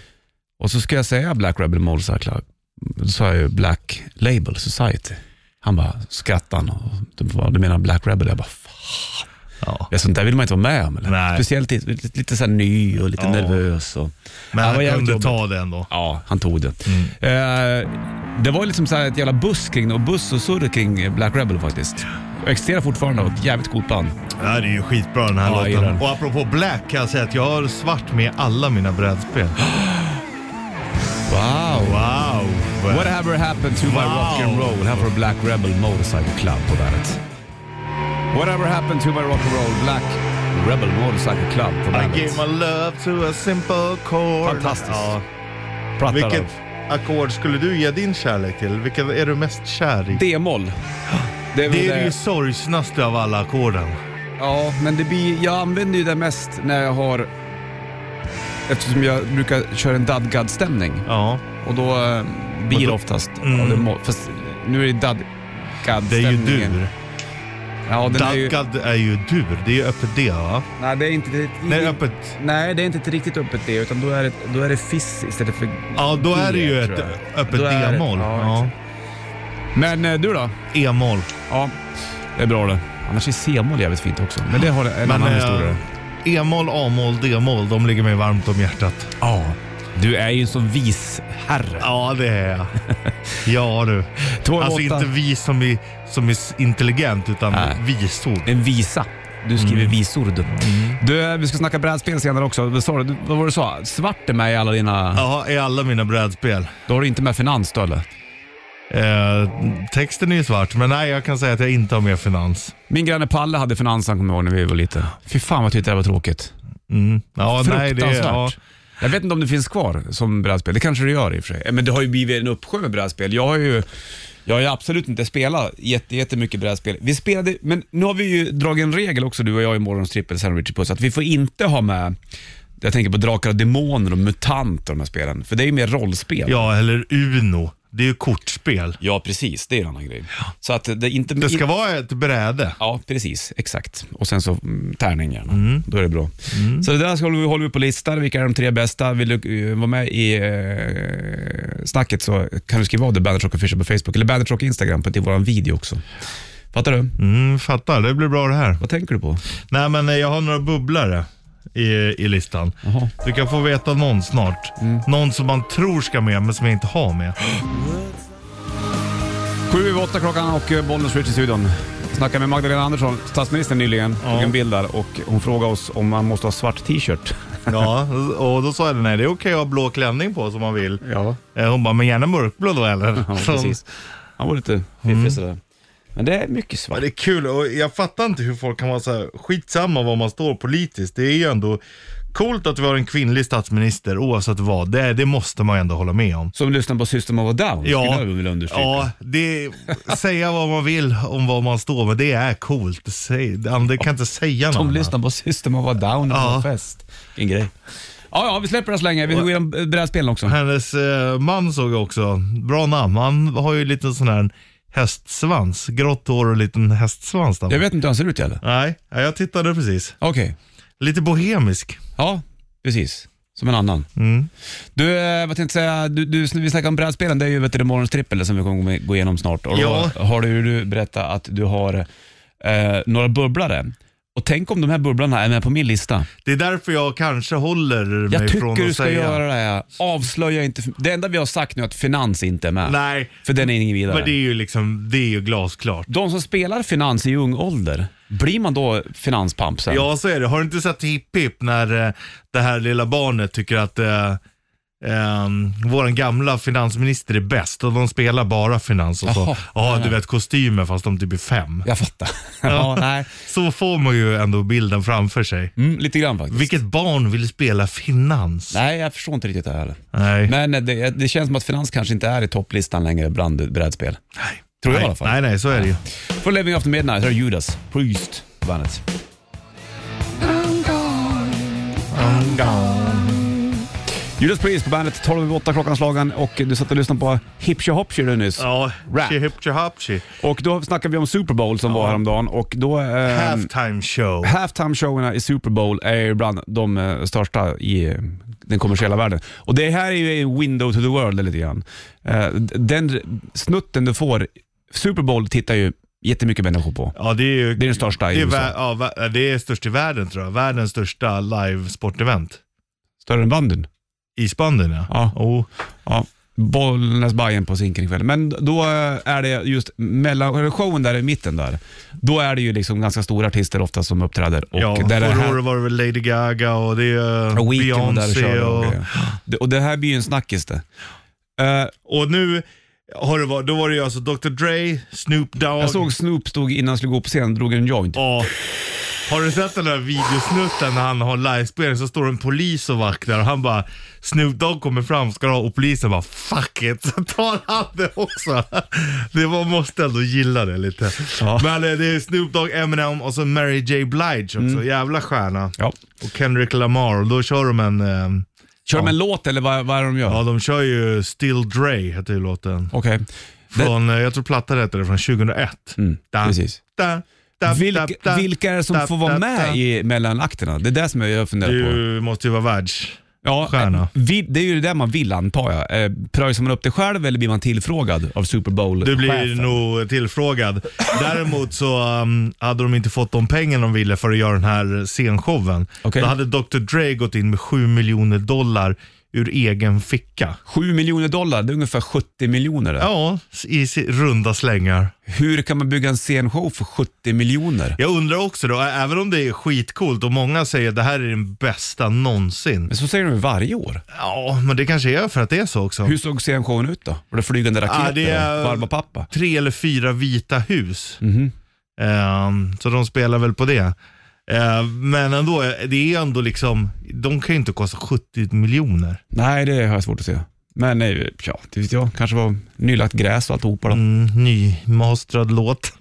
Speaker 2: och så ska jag säga Black Rebel Motorcycle, då sa jag ju Black Label Society. Han bara skrattade han och du bara, du menar Black Rebel? Jag bara, fan.
Speaker 3: Ja.
Speaker 2: Ja, sånt där vill man inte vara med om. Eller?
Speaker 3: Nej.
Speaker 2: Speciellt i- lite, lite så här ny och lite
Speaker 3: Ja.
Speaker 2: nervös. Och,
Speaker 3: Men
Speaker 2: Ja, det var
Speaker 3: han
Speaker 2: jävligt
Speaker 3: kunde
Speaker 2: jobbigt.
Speaker 3: ta det ändå.
Speaker 2: Ja, han tog det. Eh, det var liksom så här ett jävla buss kring det och buss och surr kring Black Rebel faktiskt. Och existerar fortfarande och ett jävligt coolt band.
Speaker 3: Det här är ju skitbra den här
Speaker 2: Ja, jag gillar
Speaker 3: låten.
Speaker 2: den.
Speaker 3: Och apropå Black kan jag säga att jag har svart med alla mina brädspel.
Speaker 2: Wow!
Speaker 3: Wow!
Speaker 2: Whatever happened to my
Speaker 3: Wow.
Speaker 2: rock and roll? Här får Black Rebel Motorcycle Club på bandet. Whatever happened to my rock and roll? Black Rebel Motorcycle Club på
Speaker 3: I
Speaker 2: bandet.
Speaker 3: gave my love to a simple chord.
Speaker 2: Fantastiskt.
Speaker 3: Ja.
Speaker 2: Pratar
Speaker 3: Vilket
Speaker 2: om.
Speaker 3: ackord skulle du ge din kärlek till? Vilken är du mest kär i?
Speaker 2: D-moll. Det är väl
Speaker 3: Det är ju sorgsnaste av alla ackorden.
Speaker 2: Ja, men det blir, jag använder ju det mest när jag har... Eftersom jag brukar köra en dadgad-stämning.
Speaker 3: Ja.
Speaker 2: Och då eh, blir
Speaker 3: Och
Speaker 2: det
Speaker 3: då-
Speaker 2: oftast...
Speaker 3: Mm.
Speaker 2: Ja, det må, fast nu är det
Speaker 3: Det är ju
Speaker 2: dadgad-stämningen.
Speaker 3: dur.
Speaker 2: Ja, den är ju,
Speaker 3: Dadgad är ju dur. Det är ju öppet D va?
Speaker 2: nej, det är inte, det,
Speaker 3: Nej, öppet.
Speaker 2: nej, det är inte ett riktigt öppet D, utan då är det, då är det fiss istället för
Speaker 3: Ja, då
Speaker 2: G,
Speaker 3: är det ju
Speaker 2: tror
Speaker 3: ett
Speaker 2: jag.
Speaker 3: öppet
Speaker 2: Då är det-
Speaker 3: D-moll.
Speaker 2: ja,
Speaker 3: Ja.
Speaker 2: Men eh, du då?
Speaker 3: E-moll.
Speaker 2: Ja, det är bra det. Annars är C-moll jävligt fint också, men det har en annan
Speaker 3: eh,
Speaker 2: historia.
Speaker 3: E-moll, A-moll, D-moll, de ligger mig varmt om hjärtat.
Speaker 2: Ja, du är ju en sån vis herre.
Speaker 3: Ja, det är jag. Ja du.
Speaker 2: Två
Speaker 3: Alltså
Speaker 2: åtta.
Speaker 3: inte vis som är, som är s- intelligent, utan
Speaker 2: Nej.
Speaker 3: visord.
Speaker 2: En visa. Du skriver
Speaker 3: Mm.
Speaker 2: visor du. du. eh, Vi ska snacka brädspel senare också. Vad sa du? Vad var det du sa? Svart är med i alla dina...
Speaker 3: Ja, i alla mina brädspel.
Speaker 2: Då har du inte med finans då eller?
Speaker 3: Eh, texten är ju svart, men nej, jag kan säga att jag inte har med finans.
Speaker 2: Min granne Palle hade finansen kommer jag ihåg när vi var lite. Fy fan vad jag tyckte det var tråkigt.
Speaker 3: Mm. Ja, nej, det
Speaker 2: Fruktansvärt.
Speaker 3: är, ja,
Speaker 2: Jag vet inte om det finns kvar som brädspel. Det kanske det gör i och för sig. Eh, Men det har ju blivit en uppsjö med brädspel. Jag har ju, jag har ju absolut inte spelat jätte, jättemycket brädspel. Vi spelade, men nu har vi ju dragit en regel också du och jag i morgons trippel sen Richard Puss, att vi får inte ha med jag tänker på Drakar och Demoner och MUTANT och de här spelen. För det är ju mer rollspel.
Speaker 3: ja, eller Uno. Det är ju kortspel.
Speaker 2: Ja, precis. Det är en annan grej. Så att det är inte...
Speaker 3: Det ska vara ett bräde.
Speaker 2: Ja, precis. Exakt. Och sen så mm, tärning gärna. Då är det bra. Så det där ska vi, håller vi på listan. Vilka är de tre bästa? Vill du eh, vara med i eh, snacket så kan du skriva av det Bandit Rock Official på Facebook eller Bandit Rock Instagram på till vår video också. Fattar du?
Speaker 3: Mm, fattar, det blir bra det här.
Speaker 2: Vad tänker du på?
Speaker 3: Nej, men eh, jag har några bubblare i, i listan.
Speaker 2: Jaha.
Speaker 3: Du kan få veta någon snart. Någon som man tror ska med, men som jag inte har med.
Speaker 2: Sju över åtta klockan och eh, Bollnäs Rich i studion. Snackade med Magdalena Andersson, statsministern nyligen, tog en bild där och hon frågade oss om man måste ha svart t-shirt.
Speaker 3: Ja, och då sa jag nej, det är okej att ha blå klänning på som man vill.
Speaker 2: Ja.
Speaker 3: Eh, Hon bara, men gärna mörkblå då eller?
Speaker 2: ja
Speaker 3: Så-
Speaker 2: precis. Mm. Han var lite fiffig sådär. Men det är mycket
Speaker 3: Ja,
Speaker 2: svart.
Speaker 3: Det är kul och jag fattar inte hur folk kan vara så här skitsamma var man står politiskt. Det är ju ändå coolt att vi har en kvinnlig statsminister oavsett vad. Det, det måste man ju ändå hålla med om.
Speaker 2: Som lyssnar på System of a Down, skulle
Speaker 3: Ja,
Speaker 2: jag vilja understryka.
Speaker 3: ja det, säga vad man vill om var man står, men det är coolt. Säg, det kan inte säga något
Speaker 2: De
Speaker 3: annat.
Speaker 2: lyssnar på System of a Down och
Speaker 3: Ja.
Speaker 2: ja. fest. En grej. Ja, ja, vi släpper det så länge. Vi går igenom eh, brädspelen också.
Speaker 3: Hennes eh, man såg jag också, bra namn. Han har ju lite sån här hästsvans, grått hår och liten hästsvans. Där.
Speaker 2: Jag vet inte hur han ser ut eller?
Speaker 3: Nej, ja, jag tittade precis.
Speaker 2: Okej.
Speaker 3: Lite bohemisk.
Speaker 2: Ja, precis. Som en annan.
Speaker 3: Mm.
Speaker 2: Du, eh, vad tänkte säga, du, du, vi snackade om brädspelen, det är ju vet du, morgons trippel som vi kommer gå igenom snart. Och
Speaker 3: Ja.
Speaker 2: då har du, du berättat att du har eh, några bubblare. Och tänk om de här bubblarna är med på min lista.
Speaker 3: Det är därför jag kanske håller
Speaker 2: Jag
Speaker 3: mig från att
Speaker 2: tycker du ska
Speaker 3: säga.
Speaker 2: göra det. Här. Avslöja inte. Det enda vi har sagt nu är att finans inte är med.
Speaker 3: Nej,
Speaker 2: För den är ingen vidare.
Speaker 3: men det är ju liksom, det är ju glasklart.
Speaker 2: De som spelar finans i ung ålder, blir man då finanspamp sen?
Speaker 3: Ja, så är det. Har du inte sett Hipp Hipp när eh, det här lilla barnet tycker att eh, ehm, våran gamla finansminister är bäst och de spelar bara finans och så.
Speaker 2: Jaha.
Speaker 3: Ja, du vet kostymer fast de typ är fem.
Speaker 2: Jag fattar. ja, nej.
Speaker 3: Så får man ju ändå bilden framför sig.
Speaker 2: Mm, lite grann faktiskt.
Speaker 3: Vilket barn vill spela finans?
Speaker 2: Nej, jag förstår inte riktigt det här heller.
Speaker 3: Nej.
Speaker 2: Men eh, det, det känns som att finans kanske inte är i topplistan längre bland brädspel.
Speaker 3: Nej.
Speaker 2: Tror jag
Speaker 3: nej.
Speaker 2: i alla fall.
Speaker 3: Nej, nej, så är det ju.
Speaker 2: För Living After Midnight har Judas Priest på bandet. Judas Priest på bandet, 12 över 8 klockan slagen och du satt och lyssnade på Hipsha Hopsha du nyss.
Speaker 3: Ja,
Speaker 2: Rap.
Speaker 3: tjihiptjihaptji.
Speaker 2: Och då snackade vi om Super Bowl som var häromdagen och då... ehm,
Speaker 3: Halftime show.
Speaker 2: Halftime-showerna i Super Bowl är ju bland de eh, största i eh, den kommersiella världen. Och det här är ju en window to the world lite grann. Eh, d- Den snutten du får, Super Bowl tittar ju jättemycket människor på.
Speaker 3: Ja, det är ju...
Speaker 2: Det är den största i
Speaker 3: det är,
Speaker 2: USA.
Speaker 3: vä- ja, vä- det är störst i världen tror jag. Världens största live-sportevent.
Speaker 2: Större än bandyn.
Speaker 3: Isbanden ja.
Speaker 2: Ja.
Speaker 3: Oh.
Speaker 2: Ja. Bollnäs Bayern på sinken ikväll. Men då eh, är det just mellan, eller showen där i mitten där, då är det ju liksom ganska stora artister ofta som uppträder. Och
Speaker 3: ja.
Speaker 2: där är det
Speaker 3: Förra
Speaker 2: här-
Speaker 3: året var det väl Lady Gaga och det är eh,
Speaker 2: och Weekend och där
Speaker 3: Beyoncé
Speaker 2: körde
Speaker 3: och...
Speaker 2: och, och, och det här blir ju en snackis det. Eh,
Speaker 3: Och nu har det varit, då var det ju alltså Dr Dre, Snoop Dogg.
Speaker 2: Jag såg Snoop stod innan han skulle gå upp på scenen och drog en joint.
Speaker 3: Ja. Har du sett den där videosnutten när han har livespelning så står en polis och vaktar och han bara Snoop Dogg kommer fram ska du ha och polisen bara fuck it så tar han det också. Det var, måste ändå gilla det lite.
Speaker 2: Ja.
Speaker 3: Men eh, det är Snoop Dogg, Eminem och så Mary J Blige också,
Speaker 2: Mm.
Speaker 3: jävla stjärna.
Speaker 2: Ja.
Speaker 3: Och Kendrick Lamar och då kör de en, eh,
Speaker 2: Kör de en låt eller vad, vad är det de gör?
Speaker 3: ja de kör ju Still Dre heter ju låten.
Speaker 2: Okej.
Speaker 3: Från, eh, jag tror plattan heter det, från 2001. Mm,
Speaker 2: precis. Vilka, vilka är det som får vara med i mellanakterna? Det är det som jag funderar på.
Speaker 3: Du måste ju vara världs...
Speaker 2: Ja,
Speaker 3: stjärna.
Speaker 2: vi, det är ju det där man vill antar jag. Eh, Pröjsar man upp det själv eller blir man tillfrågad av Super Bowl
Speaker 3: Du blir nog tillfrågad. Däremot så um, hade de inte fått de pengar de ville för att göra den här scenshowen.
Speaker 2: Okej.
Speaker 3: Då hade Dr Dre gått in med 7 miljoner dollar ur egen ficka.
Speaker 2: 7 miljoner dollar, det är ungefär 70 miljoner. det.
Speaker 3: Ja, i si- runda slängar.
Speaker 2: Hur kan man bygga en scenshow för 70 miljoner?
Speaker 3: Jag undrar också då, ä- även om det är skitcoolt och många säger att det här är den bästa någonsin.
Speaker 2: Men så säger de ju varje år.
Speaker 3: Ja, men det kanske är för att det är så också.
Speaker 2: Hur såg scenshowen ut då? Var det flygande raketer?
Speaker 3: Ja, det är-
Speaker 2: och Varma pappa?
Speaker 3: tre eller fyra vita hus.
Speaker 2: Mhm.
Speaker 3: Ehm, så de spelar väl på det. Ehm, men ändå, det är ändå liksom, de kan ju inte kosta 70 miljoner.
Speaker 2: Nej, det har jag svårt att se. Men nej, ja, det vet jag. Kanske var nylagt gräs och alltihopa då.
Speaker 3: Mm, nymastrad låt.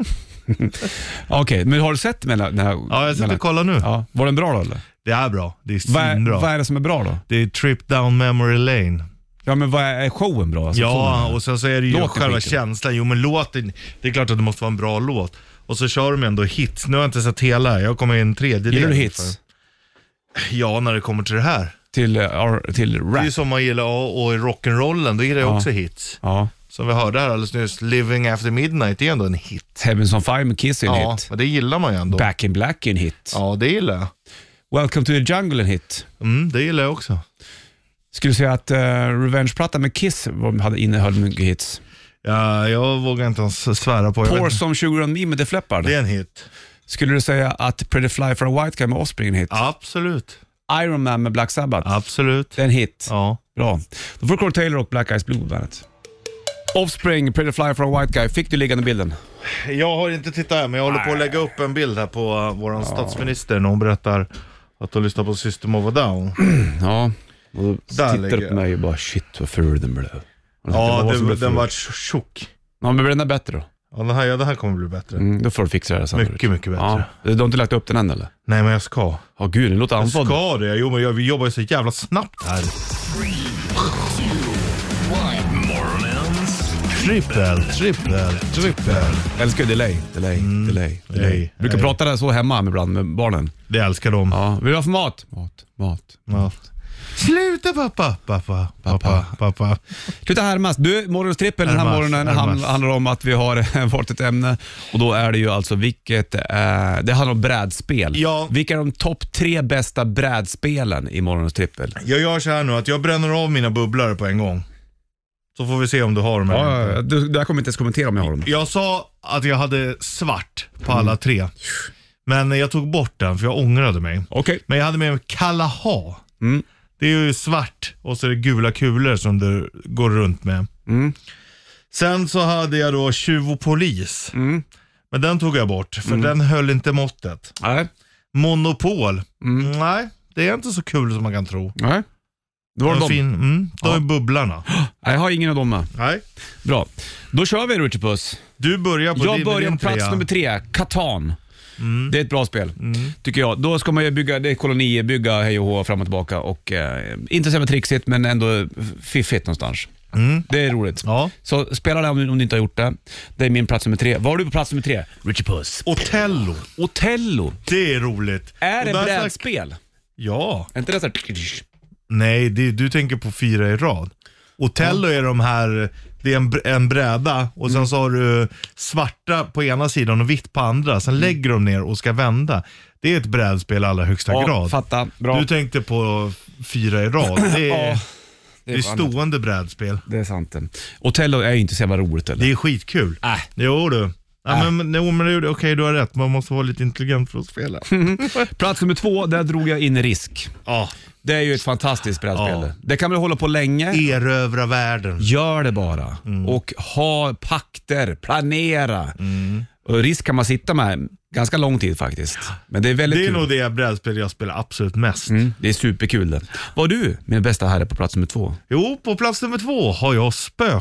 Speaker 2: Okej, men har du sett mellan... Den här,
Speaker 3: ja, jag sitter och kollar nu.
Speaker 2: Ja, var den bra då eller?
Speaker 3: Det är bra. Det är
Speaker 2: Vad är,
Speaker 3: svinbra.
Speaker 2: vad är det som är bra då?
Speaker 3: Det är trip down memory lane.
Speaker 2: Ja, men vad är, är showen bra? Alltså,
Speaker 3: Ja,
Speaker 2: showen?
Speaker 3: och sen så är det ju
Speaker 2: Låten
Speaker 3: själva
Speaker 2: skiter.
Speaker 3: känslan. Jo, men låten, det är klart att det måste vara en bra låt. Och så kör de ändå hits. Nu har jag inte sett hela, jag kommer i en tredjedel.
Speaker 2: Gillar du hits?
Speaker 3: Ja, när det kommer till det här.
Speaker 2: Till, eh, ar- till
Speaker 3: Det
Speaker 2: rap?
Speaker 3: är ju som man gillar och, och i rock'n'rollen, då gillar jag
Speaker 2: Ja.
Speaker 3: också hits.
Speaker 2: Ja.
Speaker 3: Som vi hörde här alldeles nyss, Living After Midnight är ändå en hit.
Speaker 2: Heavens on Fire med Kiss är en
Speaker 3: Ja,
Speaker 2: hit.
Speaker 3: men det gillar man ju ändå.
Speaker 2: Back in Black är en hit.
Speaker 3: Ja, det gillar jag.
Speaker 2: Welcome to the Jungle är en hit.
Speaker 3: Mm, det gillar jag också.
Speaker 2: Skulle du säga att eh, Revenge-plattan med Kiss var- hade innehöll mycket hits?
Speaker 3: Ja, jag vågar inte ens svära på. Jag
Speaker 2: Pour
Speaker 3: vet, inte.
Speaker 2: som Sugar on Me med The Flappard.
Speaker 3: det är en hit.
Speaker 2: Skulle du säga att Pretty Fly for a White Guy med Offspring är en hit?
Speaker 3: Absolut.
Speaker 2: Iron Man med Black Sabbath?
Speaker 3: Absolut.
Speaker 2: Det är en hit.
Speaker 3: Ja.
Speaker 2: Bra. Då får Corey Taylor och Black Eyes Blue på bandet. Offspring, Pretty Fly for a White Guy. Fick du liggande bilden?
Speaker 3: Jag har inte tittat här, men jag håller på att lägga upp en bild här på uh, vår statsminister när hon berättar att hon lyssnar på System of a Down.
Speaker 2: Ja. Och då
Speaker 3: ligger
Speaker 2: tittar du på
Speaker 3: jag.
Speaker 2: mig och bara shit vad ful den blev. Och jag tänkte,
Speaker 3: Ja,
Speaker 2: vad som
Speaker 3: det,
Speaker 2: blev
Speaker 3: den
Speaker 2: ful?
Speaker 3: var tjock.
Speaker 2: Ja, men blir den där bättre då?
Speaker 3: Ja, det här, ja, det här kommer bli bättre.
Speaker 2: Mm, då får du fixa det här sen.
Speaker 3: Mycket, mycket bättre.
Speaker 2: Ja. Du har inte lagt upp den än eller?
Speaker 3: Nej, men jag ska.
Speaker 2: Ja, gud, det låter andfådd.
Speaker 3: Ska det? Jo, men jag, vi jobbar ju så jävla snabbt här.
Speaker 1: Morgonens
Speaker 3: Trippel, trippel, trippel.
Speaker 2: Älskar ju delay, delay, delay. delay.
Speaker 3: Nej,
Speaker 2: Brukar
Speaker 3: Mm, nej.
Speaker 2: prata där så hemma ibland med barnen.
Speaker 3: Det älskar de.
Speaker 2: Ja, vill du ha för mat? Mat, mat.
Speaker 3: Ja. Sluta pappa, pappa, pappa, pappa.
Speaker 2: Sluta härmas. Du, morgonens trippel den här
Speaker 3: Härmas,
Speaker 2: morgonen
Speaker 3: härmas.
Speaker 2: hand- handlar om att vi har valt ett ämne och då är det ju alltså vilket, eh, det handlar om brädspel.
Speaker 3: Ja.
Speaker 2: Vilka är de topp tre bästa brädspelen i morgonens trippel?
Speaker 3: Jag gör så här nu att jag bränner av mina bubblare på en gång. Så får vi se om du har dem eller inte.
Speaker 2: Du, det här kommer jag inte ens kommentera om jag har dem.
Speaker 3: Jag sa att jag hade svart på alla tre. Men jag tog bort den för jag ångrade mig.
Speaker 2: Okej.
Speaker 3: Men jag hade med mig Kalaha.
Speaker 2: Mm.
Speaker 3: Det är ju svart och så är det gula kulor som du går runt med.
Speaker 2: Mm.
Speaker 3: Sen så hade jag då Tjuv och polis.
Speaker 2: Mm.
Speaker 3: Men den tog jag bort för den höll inte måttet.
Speaker 2: Nej.
Speaker 3: Monopol.
Speaker 2: Mm.
Speaker 3: Nej, det är inte så kul som man kan tro.
Speaker 2: Nej. Då var det
Speaker 3: de
Speaker 2: dem.
Speaker 3: fin, mm, de är bubblarna.
Speaker 2: Nej, jag har ingen av dem med.
Speaker 3: Nej.
Speaker 2: Bra. Då kör vi Richard Puss.
Speaker 3: Du börjar på
Speaker 2: Jag
Speaker 3: din,
Speaker 2: börjar
Speaker 3: din
Speaker 2: på plats
Speaker 3: trea.
Speaker 2: nummer tre, Catan.
Speaker 3: Mm.
Speaker 2: Det är ett bra spel, tycker jag. Då ska man ju bygga, det är kolonier, bygga hej och hå fram och tillbaka och eh, inte så jävla trixigt men ändå fiffigt någonstans. Det är roligt.
Speaker 3: Mm. Ja.
Speaker 2: Så spela det om, om du inte har gjort det. Det är min plats nummer tre. Vad har du på plats nummer tre? Richard Puss.
Speaker 3: Otello.
Speaker 2: Otello.
Speaker 3: Det är roligt.
Speaker 2: Är
Speaker 3: Och
Speaker 2: det
Speaker 3: där snack-
Speaker 2: brädspel?
Speaker 3: Ja.
Speaker 2: Är inte det såhär...
Speaker 3: Nej, det, du tänker på fyra i rad. Otello är de här, det är en, br- en bräda och
Speaker 2: Mm.
Speaker 3: sen så har du svarta på ena sidan och vitt på andra.
Speaker 2: Mm.
Speaker 3: Sen lägger de ner och ska vända. Det är ett brädspel i allra högsta
Speaker 2: Ja,
Speaker 3: grad.
Speaker 2: fatta. Bra.
Speaker 3: Du tänkte på fyra i rad. Det är,
Speaker 2: Ja,
Speaker 3: det är
Speaker 2: var annat.
Speaker 3: stående brädspel.
Speaker 2: Det är sant det. Otello är ju inte så jävla roligt eller?
Speaker 3: Det är skitkul.
Speaker 2: Äh.
Speaker 3: Jo du. Ja, men, men, jo, men det gjorde- okej, du har rätt. Man måste vara lite intelligent för att spela.
Speaker 2: Plats nummer två, där drog jag in risk.
Speaker 3: ja.
Speaker 2: Det är ju ett fantastiskt brädspel.
Speaker 3: Ja.
Speaker 2: Det kan man hålla på länge.
Speaker 3: Erövra världen.
Speaker 2: Gör det bara.
Speaker 3: Mm.
Speaker 2: Och ha pakter, planera. Och risk kan man sitta med ganska lång tid faktiskt. Men det är väldigt
Speaker 3: Det är
Speaker 2: kul.
Speaker 3: nog det brädspel jag spelar absolut mest.
Speaker 2: Mm, det är superkul det. Var du min bästa herre på plats nummer två?
Speaker 3: Jo, på plats nummer två har jag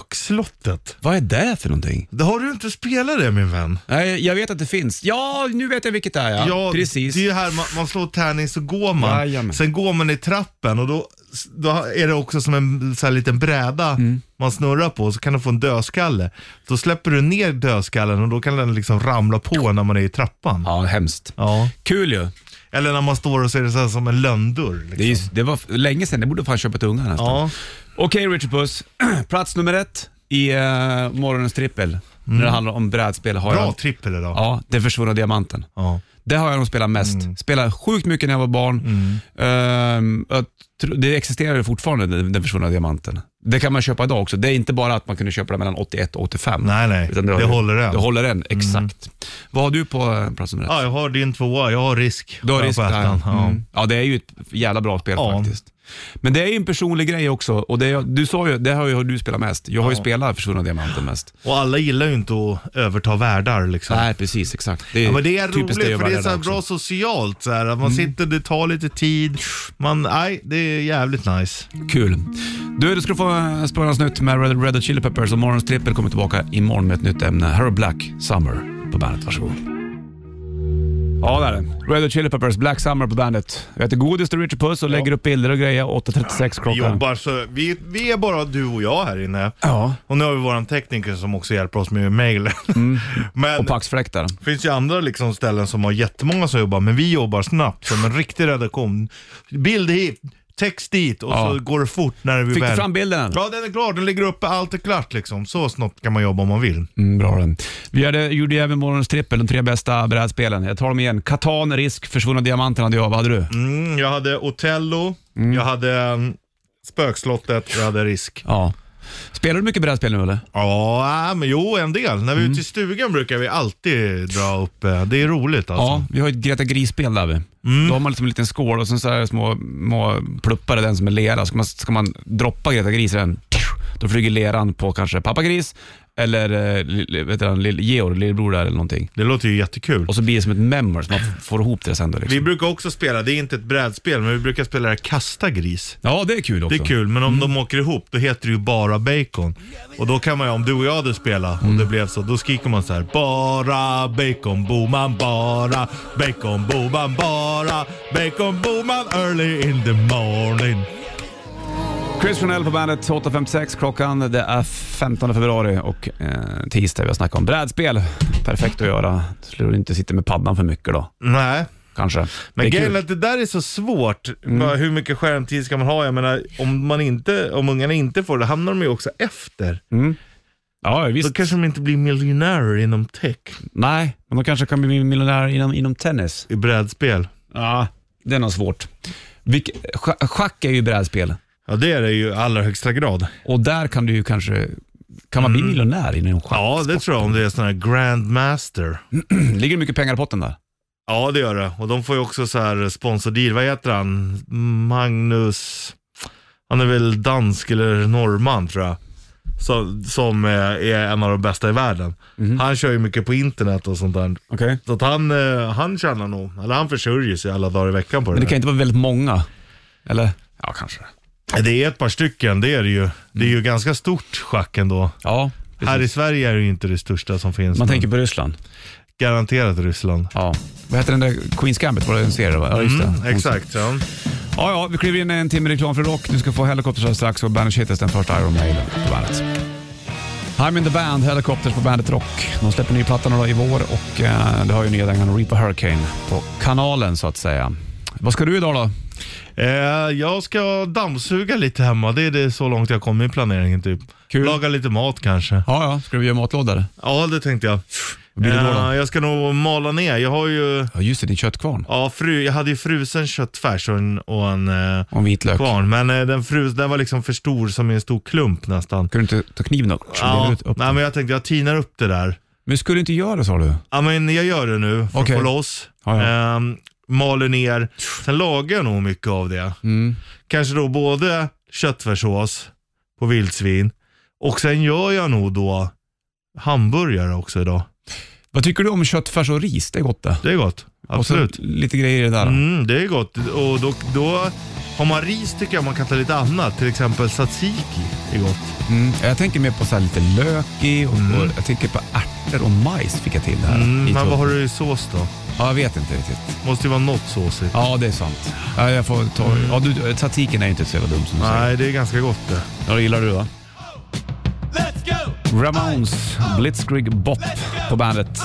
Speaker 3: Spökslottet.
Speaker 2: Vad är det för någonting?
Speaker 3: Det har du inte spelat det min vän.
Speaker 2: Nej, jag vet att det finns. Ja, nu vet jag vilket det är ja. Precis.
Speaker 3: Det är ju här man, man slår tärning så går man.
Speaker 2: Jajamän.
Speaker 3: Sen går man i trappen och då, då är det också som en så här liten bräda
Speaker 2: Mm.
Speaker 3: man snurrar på så kan du få en dödskalle. Då släpper du ner dödskallen och då kan den liksom ramla på när man är i trappan.
Speaker 2: Ja, hemskt.
Speaker 3: Ja.
Speaker 2: Kul ju.
Speaker 3: Eller när man står och ser det så här som en lönndörr. Liksom.
Speaker 2: Det, är, ju- det var f- länge sedan, det borde fan köpa till ungarna nästan.
Speaker 3: Ja.
Speaker 2: Okej Richard Puss, plats nummer ett i eh, morgonens trippel. När det handlar om brädspel har
Speaker 3: Mm. Bra
Speaker 2: jag...
Speaker 3: trippel idag.
Speaker 2: Ja, Den försvunna diamanten.
Speaker 3: Ja.
Speaker 2: Det har jag nog spelat mest.
Speaker 3: Mm.
Speaker 2: Spelat sjukt mycket när jag var barn. Ehm, jag tro- det existerar ju fortfarande, den, den försvunna diamanten. Det kan man köpa idag också. Det är inte bara att man kunde köpa den mellan 81 och 85.
Speaker 3: Nej, nej.
Speaker 2: Utan
Speaker 3: Det
Speaker 2: har ju-
Speaker 3: håller än.
Speaker 2: Det håller än, exakt. Vad har du på eh, plats nummer ett?
Speaker 3: Ja, jag har din tvåa, jag har risk.
Speaker 2: Du har risk
Speaker 3: på ettan.
Speaker 2: där.
Speaker 3: Ja.
Speaker 2: Mm. ja, det är ju ett jävla bra spel
Speaker 3: Ja.
Speaker 2: faktiskt. Men det är ju en personlig grej också. Och det, är- du sa ju, det har ju du spelat mest. Jag har ju spelat Försvunna Diamanten mest.
Speaker 3: Och alla gillar ju inte att överta världar liksom.
Speaker 2: Nej, precis. Exakt. Det är,
Speaker 3: Ja, men det är
Speaker 2: typiskt
Speaker 3: roligt
Speaker 2: att
Speaker 3: för
Speaker 2: göra
Speaker 3: det är så här
Speaker 2: också. Mm.
Speaker 3: bra socialt. Så här, att man sitter, det tar lite tid. Man, nej, det är jävligt nice.
Speaker 2: Kul. Du, du ska få spårans nytt med Red, Red Hot Chili Peppers och morgonens trippel kommer tillbaka imorgon med ett nytt ämne. Här är Black Summer på bandet. Varsågod. Ja, där är det. Red Hot Chili Peppers, Black Summer på bandet. Vi äter godis till Richard Puss och lägger upp bilder och grejer 8.36
Speaker 3: Vi
Speaker 2: klockan.
Speaker 3: jobbar så, vi, vi är bara du och jag här inne.
Speaker 2: Ja.
Speaker 3: Och nu har vi våran tekniker som också hjälper oss med mejlen. Men
Speaker 2: Mm. Och
Speaker 3: det
Speaker 2: paxfläktar.
Speaker 3: finns ju andra liksom ställen som har jättemånga som jobbar, men vi jobbar snabbt som en riktig redaktion. Bild hit, text dit och
Speaker 2: Ja.
Speaker 3: så går det fort när vi
Speaker 2: Fick
Speaker 3: väl...
Speaker 2: du fram bilden än?
Speaker 3: Ja, den är klar. Den ligger uppe. Allt är klart liksom. Så snabbt kan man jobba om man vill.
Speaker 2: Mm, bra den. Vi hade, gjorde ju även morgonens trippel, de tre bästa brädspelen. Jag tar dem igen. Katan, Risk, Försvunna Diamanten hade jag. Vad hade du?
Speaker 3: Mm, jag hade Otello, jag hade mm, Spökslottet, jag hade Risk.
Speaker 2: Ja. Spelar du mycket brädspel nu eller?
Speaker 3: Ja, äh, men jo, en del. När vi är ute i
Speaker 2: Mm.
Speaker 3: stugan brukar vi alltid dra upp. eh, Det är roligt alltså.
Speaker 2: Ja, vi har ju ett Greta Gris-spel där vi.
Speaker 3: Mm.
Speaker 2: Då har man liksom en liten skål och sen så är det små, små pluppar i den som är lera. Ska man, ska man droppa Greta Gris i den, då flyger leran på kanske pappa Gris eller eh, li- vet du, han, lill- Georg, lillebror där eller någonting.
Speaker 3: Det låter ju jättekul.
Speaker 2: Och så blir det som ett memory, så man f- får ihop det sen då liksom.
Speaker 3: Vi brukar också spela, det är inte ett brädspel, men vi brukar spela det här kasta gris.
Speaker 2: Ja, det är kul också. Mm.
Speaker 3: Det är kul, men om de åker ihop då heter det ju bara bacon. Och då kan man ju, om du och jag hade spelat och
Speaker 2: Mm.
Speaker 3: det blev så, då skriker man så här Bara bacon Boman, bara bacon Boman, bara bacon Boman early in the morning.
Speaker 2: Chris Jonell på bandet, 8.56 klockan. Det är 15 februari och eh, tisdag. Vi har snackat om brädspel. Perfekt att göra. Så du inte sitter med paddan för mycket då.
Speaker 3: Nej,
Speaker 2: kanske.
Speaker 3: Men
Speaker 2: det är
Speaker 3: grejen är
Speaker 2: kul. Mm.
Speaker 3: att det där är så svårt. Bara Hur mycket skärmtid ska man ha? Jag menar, om, man inte, om ungarna inte får det, hamnar de ju också efter.
Speaker 2: Ja,
Speaker 3: Då
Speaker 2: visst.
Speaker 3: kanske de inte blir miljonärer inom tech,
Speaker 2: Nej, men de kanske kan bli miljonärer inom, inom tennis.
Speaker 3: i brädspel.
Speaker 2: Ja, det är nog svårt. Vilk, scha- schack är ju brädspel
Speaker 3: Ja, det är det ju i allra högsta grad.
Speaker 2: och där kan du ju kanske kan man bli miljonär inom schack?
Speaker 3: Mm. Ja, det tror jag om det är sån här grandmaster.
Speaker 2: Ligger det mycket pengar i potten där?
Speaker 3: Ja, det gör det. Och de får ju också så här sponsordeal. Vad heter han? Magnus... Han är väl dansk eller norrman tror jag. Som, som eh, är en av de bästa i världen.
Speaker 2: Mhm.
Speaker 3: Han kör ju mycket på internet och sånt där.
Speaker 2: Okej.
Speaker 3: Så att han, eh, han tjänar nog, eller han försörjer sig alla dagar i veckan på det,
Speaker 2: Men det kan
Speaker 3: där.
Speaker 2: inte vara väldigt många? Eller? Ja, kanske.
Speaker 3: Det är ett par stycken, det är det ju. Det är
Speaker 2: Mm.
Speaker 3: ju ganska stort schack ändå.
Speaker 2: Ja,
Speaker 3: Här i Sverige är det ju inte det största som finns.
Speaker 2: man
Speaker 3: men
Speaker 2: tänker på Ryssland.
Speaker 3: Garanterat Ryssland.
Speaker 2: Ja. Vad heter den där Queens Gambit? Var det en serie? Va? Ja, just det.
Speaker 3: Mm, exakt. Ja.
Speaker 2: Ja, ja, vi kliver in i en timme reklam för rock. Du ska få Helicopters alldeles strax och Bandit Shitlist, den första Iron Maiden på bandet. I'm in the band, Helicopters på bandet Rock. De släpper ny platta några i vår och eh, det har ju nya dängan Reaper Hurricane på kanalen så att säga. Vad ska du idag då?
Speaker 3: Eh, jag ska dammsuga lite hemma. Det är det så långt jag kommit i planeringen typ.
Speaker 2: Kul.
Speaker 3: Laga lite mat kanske.
Speaker 2: Ja, ja, ska du göra matlåda eller?
Speaker 3: Ja, det tänkte jag.
Speaker 2: Vad blir det då?
Speaker 3: Eh,
Speaker 2: då?
Speaker 3: jag ska nog mala ner. Jag har ju,
Speaker 2: Ja, just det, din köttkvarn.
Speaker 3: ja fru, jag hade ju frusen köttfärs och en, och en eh,
Speaker 2: Och en vitlök.
Speaker 3: kvarn. Men eh, den frus, den var liksom för stor som en stor klump nästan.
Speaker 2: Kunde du inte ta kniven och dela
Speaker 3: Ja,
Speaker 2: ut upp
Speaker 3: nej,
Speaker 2: den?
Speaker 3: men jag tänkte jag tinar upp det där.
Speaker 2: Men skulle du inte göra det sa du?
Speaker 3: Ja men jag gör det nu för
Speaker 2: Okej.
Speaker 3: att få loss.
Speaker 2: Ja,
Speaker 3: Ehm, maler ner. Sen lagar jag nog mycket av det.
Speaker 2: Mm.
Speaker 3: Kanske då både köttfärssås på vildsvin och sen gör jag nog då hamburgare också idag.
Speaker 2: Vad tycker du om köttfärs och ris? Det är gott det.
Speaker 3: Det är gott.
Speaker 2: Och
Speaker 3: Absolut.
Speaker 2: så lite grejer i det där.
Speaker 3: Mm, det är gott. Och då, då har man ris tycker jag man kan ta lite annat. Till exempel tzatziki är gott.
Speaker 2: Mm. Jag tänker mer på så här lite lök i och, och jag tänker på ärtor och majs fick jag till där.
Speaker 3: Mm,
Speaker 2: I
Speaker 3: men vad
Speaker 2: tugg.
Speaker 3: har du i sås då?
Speaker 2: Ja, jag vet inte riktigt.
Speaker 3: Måste ju vara något såsigt.
Speaker 2: Ja, det är sant. Ja, jag får ta... Ja, du, tzatziki är ju inte så jävla dum som du säger.
Speaker 3: Mm. Nej, det är ganska gott det.
Speaker 2: Ja, det gillar du va? Ramones, Blitzkrieg Bop på bandet.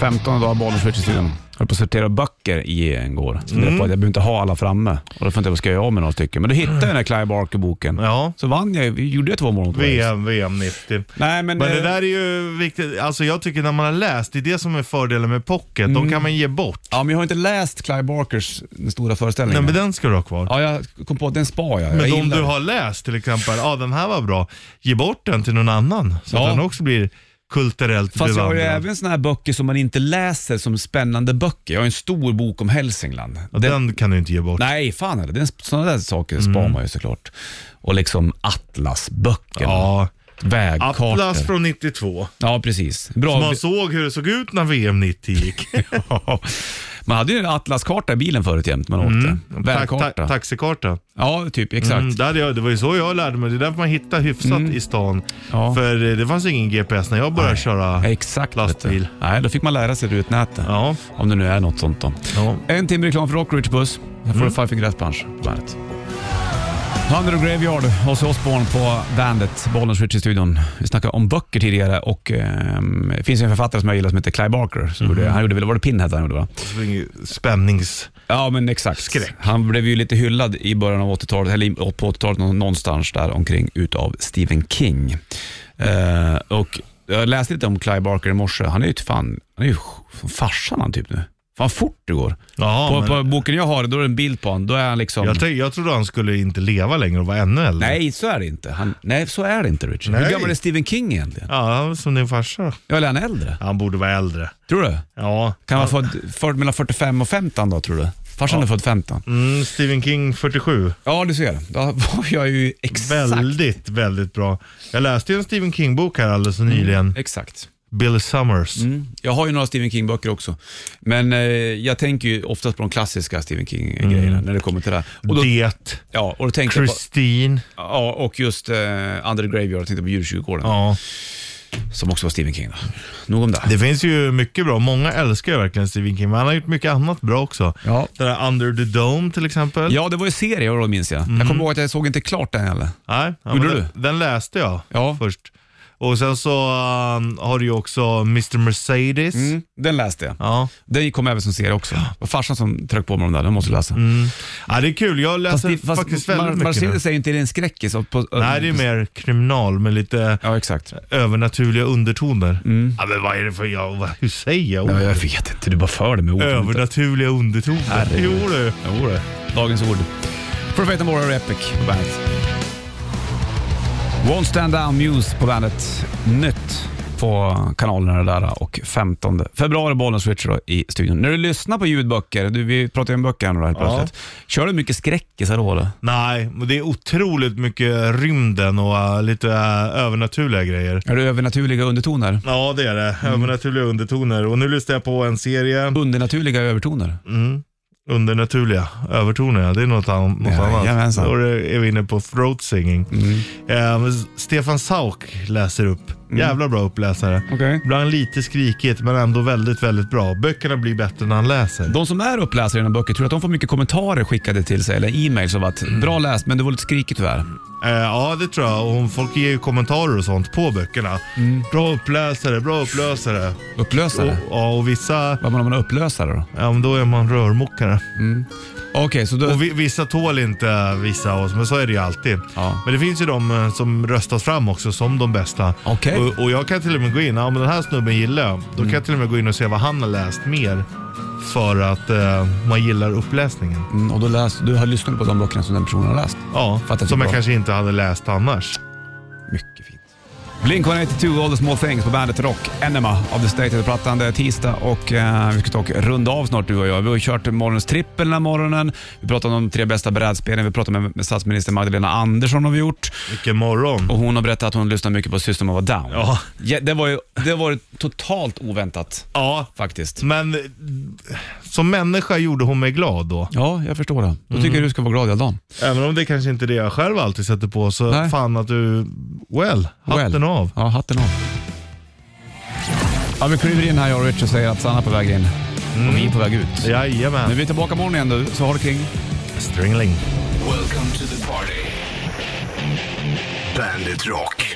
Speaker 2: 15 dagar bollen switch i studion. Jag höll på att sortera böcker i går. Så mm. på att jag behöver inte ha alla framme. Och då funderade jag på ska jag göra av med några stycken. Men då hittade jag den här Clive Barker-boken.
Speaker 3: Ja.
Speaker 2: Så vann jag ju. Gjorde jag två mål mot Wales?
Speaker 3: VM, VM 90.
Speaker 2: Nej, men...
Speaker 3: Men det
Speaker 2: eh,
Speaker 3: där är ju viktigt. Alltså jag tycker när man har läst, det är det som är fördelen med pocket.
Speaker 2: Mm.
Speaker 3: De kan man ge bort.
Speaker 2: Ja, men jag har inte läst Clive Barkers den stora
Speaker 3: Nej,
Speaker 2: föreställningen.
Speaker 3: men den ska du ha kvar.
Speaker 2: Mm. Ja, jag kom på att den spar jag. jag
Speaker 3: men de
Speaker 2: gillar
Speaker 3: du
Speaker 2: den.
Speaker 3: har läst till exempel, ja ah, den här var bra. Ge bort den till någon annan så
Speaker 2: Ja.
Speaker 3: att den också blir kulturellt
Speaker 2: Fast jag har ju
Speaker 3: bevandrad.
Speaker 2: även såna här böcker som man inte läser som spännande böcker. Jag har en stor bok om Hälsingland.
Speaker 3: Ja, den kan du inte ge bort.
Speaker 2: Nej, fan är det. Den, sådana där saker spar
Speaker 3: Mm.
Speaker 2: man ju såklart. Och liksom atlasböckerna.
Speaker 3: Ja.
Speaker 2: Vägkartor.
Speaker 3: Atlas från 92.
Speaker 2: Ja, precis. Bra.
Speaker 3: Man såg hur det såg ut när VM 90 gick.
Speaker 2: man hade ju en atlaskarta i bilen förut jämt när man
Speaker 3: Mm.
Speaker 2: åkte. Vägkarta.
Speaker 3: Ta- ta- taxikarta.
Speaker 2: Ja, typ. Exakt. Mm.
Speaker 3: Mm, där jag, det var ju så jag lärde mig. Det är därför man hittar hyfsat i stan.
Speaker 2: Ja.
Speaker 3: För eh, det fanns ingen GPS när jag började köra.
Speaker 2: Exakt. vet du.
Speaker 3: Lastbil.
Speaker 2: Nej, då fick man lära sig det ur ett nätet.
Speaker 3: Ja.
Speaker 2: Om det nu är något sånt då.
Speaker 3: Ja.
Speaker 2: En timme reklam för Rockridge Buss. Här får du Five Finger Death Punch på bandet. Thunder och Graveyard, Ozzy Osbourne på bandet, Bollens Switch i studion. Vi snackade om böcker tidigare och ehm, det finns ju en författare som jag gillar som heter Clive Barker. Som gjorde, han gjorde väl, var det Pinhead han gjorde va?
Speaker 3: Spännings...
Speaker 2: Ja men exakt.
Speaker 3: Skräck.
Speaker 2: Han blev ju lite hyllad i början av 80-talet, eller i- på 80-talet nå- någonstans där omkring utav Stephen King. Eh, och jag läste lite om Clive Barker i morse. Han är ju ett fan, han är ju som farsan han typ nu. Fan fort det går.
Speaker 3: Ja,
Speaker 2: på,
Speaker 3: men-
Speaker 2: på boken jag har, då är det en bild på honom. Då är han liksom...
Speaker 3: Jag, tänk, jag trodde han skulle inte leva längre och vara ännu äldre.
Speaker 2: Nej, så är det inte. Han, nej, så är det inte Richard. Hur
Speaker 3: Nej.
Speaker 2: gammal är Stephen King egentligen?
Speaker 3: Ja, som din farsa.
Speaker 2: Ja, Eller är han äldre?
Speaker 3: Han borde vara äldre.
Speaker 2: Tror du?
Speaker 3: Ja.
Speaker 2: Kan han vara född för, mellan 45 och 15 då, tror du? Farsan är född 15.
Speaker 3: Mm, Stephen King 47.
Speaker 2: Ja, du ser. Då var jag ju exakt...
Speaker 3: Väldigt, väldigt bra. Jag läste ju en Stephen King-bok här alldeles
Speaker 2: Mm.
Speaker 3: nyligen.
Speaker 2: Exakt.
Speaker 3: Bill Summers.
Speaker 2: Jag har ju några Stephen King-böcker också. Men eh, jag tänker ju oftast på de klassiska Stephen King-grejerna
Speaker 3: Mm.
Speaker 2: när det kommer till det här. Och då,
Speaker 3: Det.
Speaker 2: ja, och då tänkte jag på,
Speaker 3: Christine.
Speaker 2: ja, och just eh, Under the Graveyard, jag tänkte på djurkyrkogården,
Speaker 3: Ja.
Speaker 2: som också var Stephen King. Då. Nog om det.
Speaker 3: Det finns ju mycket bra. Många älskar ju verkligen Stephen King, men han har gjort mycket annat bra också.
Speaker 2: Ja.
Speaker 3: Det där Under the Dome till exempel.
Speaker 2: Ja, det var ju serier Mm. då minns jag. Jag kommer ihåg att jag såg inte klart den heller.
Speaker 3: Nej, ja,
Speaker 2: Gjorde
Speaker 3: men den, den läste jag
Speaker 2: Ja.
Speaker 3: först. Och sen så ehm, har du ju också Mr. Mercedes.
Speaker 2: Mm, den läste jag.
Speaker 3: Ja.
Speaker 2: Den kom även som serie också. Det var farsan som tryckte på mig om den, den måste du läsa.
Speaker 3: ja, det är kul. Jag
Speaker 2: Fast,
Speaker 3: läser
Speaker 2: Mm. det- fast
Speaker 3: faktiskt
Speaker 2: Mar-
Speaker 3: väldigt mycket nu.
Speaker 2: Mercedes är ju inte en skräckis. och På,
Speaker 3: Nej, det är mer kriminal med lite
Speaker 2: Ja, exakt.
Speaker 3: övernaturliga undertoner. Ja, men vad är det för, ja, vad, hur säger jag?
Speaker 2: Ja, jag vet inte, du bara för det med ord.
Speaker 3: Övernaturliga undertoner. Jo du.
Speaker 2: Jo, det. Dagens ord. Profeten Warrior Epic på bandet. Won't Stand Down Muse på bandet. Nytt på kanalerna där och 15 februari Bollnäs Richard då i studion. När du lyssnar på ljudböcker, du, vi pratar ju om böcker här nu då helt
Speaker 3: Ja.
Speaker 2: plötsligt. Kör du mycket skräckisar då eller?
Speaker 3: Nej, men det är otroligt mycket rymden och äh, lite äh, övernaturliga grejer.
Speaker 2: Är du övernaturliga undertoner?
Speaker 3: Ja, det är det.
Speaker 2: Mm.
Speaker 3: Övernaturliga undertoner. Och nu lyssnar jag på en serie.
Speaker 2: Undernaturliga övertoner?
Speaker 3: Undernaturliga övertoner, ja. det är något, an- något annat.
Speaker 2: Jajamensan. Mm.
Speaker 3: Då är vi inne på throat singing. Eh, men Stefan Sauk läser upp. Jävla bra uppläsare.
Speaker 2: Okej.
Speaker 3: Ibland lite skrikigt men ändå väldigt, väldigt bra. Böckerna blir bättre när han läser.
Speaker 2: De som är uppläsare i dina böcker, tror du att de får mycket kommentarer skickade till sig eller e-mails av att bra läst men det var lite skrikigt tyvärr?
Speaker 3: Eh, ja, det tror jag. Och folk ger ju kommentarer och sånt på böckerna.
Speaker 2: Mm.
Speaker 3: Bra uppläsare, bra uppläsare.
Speaker 2: Upplösare?
Speaker 3: Och, ja, och vissa,
Speaker 2: Vad menar man med upplösare då?
Speaker 3: ja, men då är man rörmokare.
Speaker 2: Okej, så då...
Speaker 3: Och vi, vissa tål inte vissa av oss, men så är det ju alltid.
Speaker 2: Ja.
Speaker 3: Men det finns ju de eh, som röstas fram också som de bästa.
Speaker 2: Okej. Mm.
Speaker 3: Och, och jag kan till och med gå in, ja men den här snubben gillar jag. Då kan jag till och med gå in och se vad han har läst mer. För att eh, man gillar uppläsningen.
Speaker 2: Mm, och då läst, du har lyssnat på de böckerna som den personen har läst?
Speaker 3: Ja,
Speaker 2: Fattar
Speaker 3: som
Speaker 2: typ
Speaker 3: jag
Speaker 2: av.
Speaker 3: kanske inte hade läst annars.
Speaker 2: Mycket fint. Blink-182, All the small things på bandet Rock. Enema av The Stated plattan. Det är tisdag och eh, vi ska ta och runda av snart du och jag. Vi har ju kört morgonens trippel den här morgonen. Vi pratade om de tre bästa brädspelen. Vi pratade med, med statsminister Magdalena Andersson har vi gjort.
Speaker 3: Vilken morgon.
Speaker 2: Och hon har berättat att hon lyssnar mycket på System of a Down.
Speaker 3: Ja.
Speaker 2: det, var ju, det var ju totalt oväntat
Speaker 3: Ja,
Speaker 2: faktiskt.
Speaker 3: men eh, som människa gjorde hon mig glad då.
Speaker 2: Ja, jag förstår det. Då tycker
Speaker 3: Mm.
Speaker 2: jag du ska vara glad hela dagen.
Speaker 3: Även om det kanske inte är det jag själv alltid sätter på så
Speaker 2: Nej.
Speaker 3: fan att du, well, hatten
Speaker 2: Well.
Speaker 3: av.
Speaker 2: Ja, hatten av. Ja, vi kliver in här jag och Richard säger att Sanna är på väg in och vi är på väg ut. Men
Speaker 3: Jajamän.
Speaker 2: vi är tillbaka imorgon igen du, så har det kring.
Speaker 3: Stringling.
Speaker 1: Welcome to the party. Bandit Rock.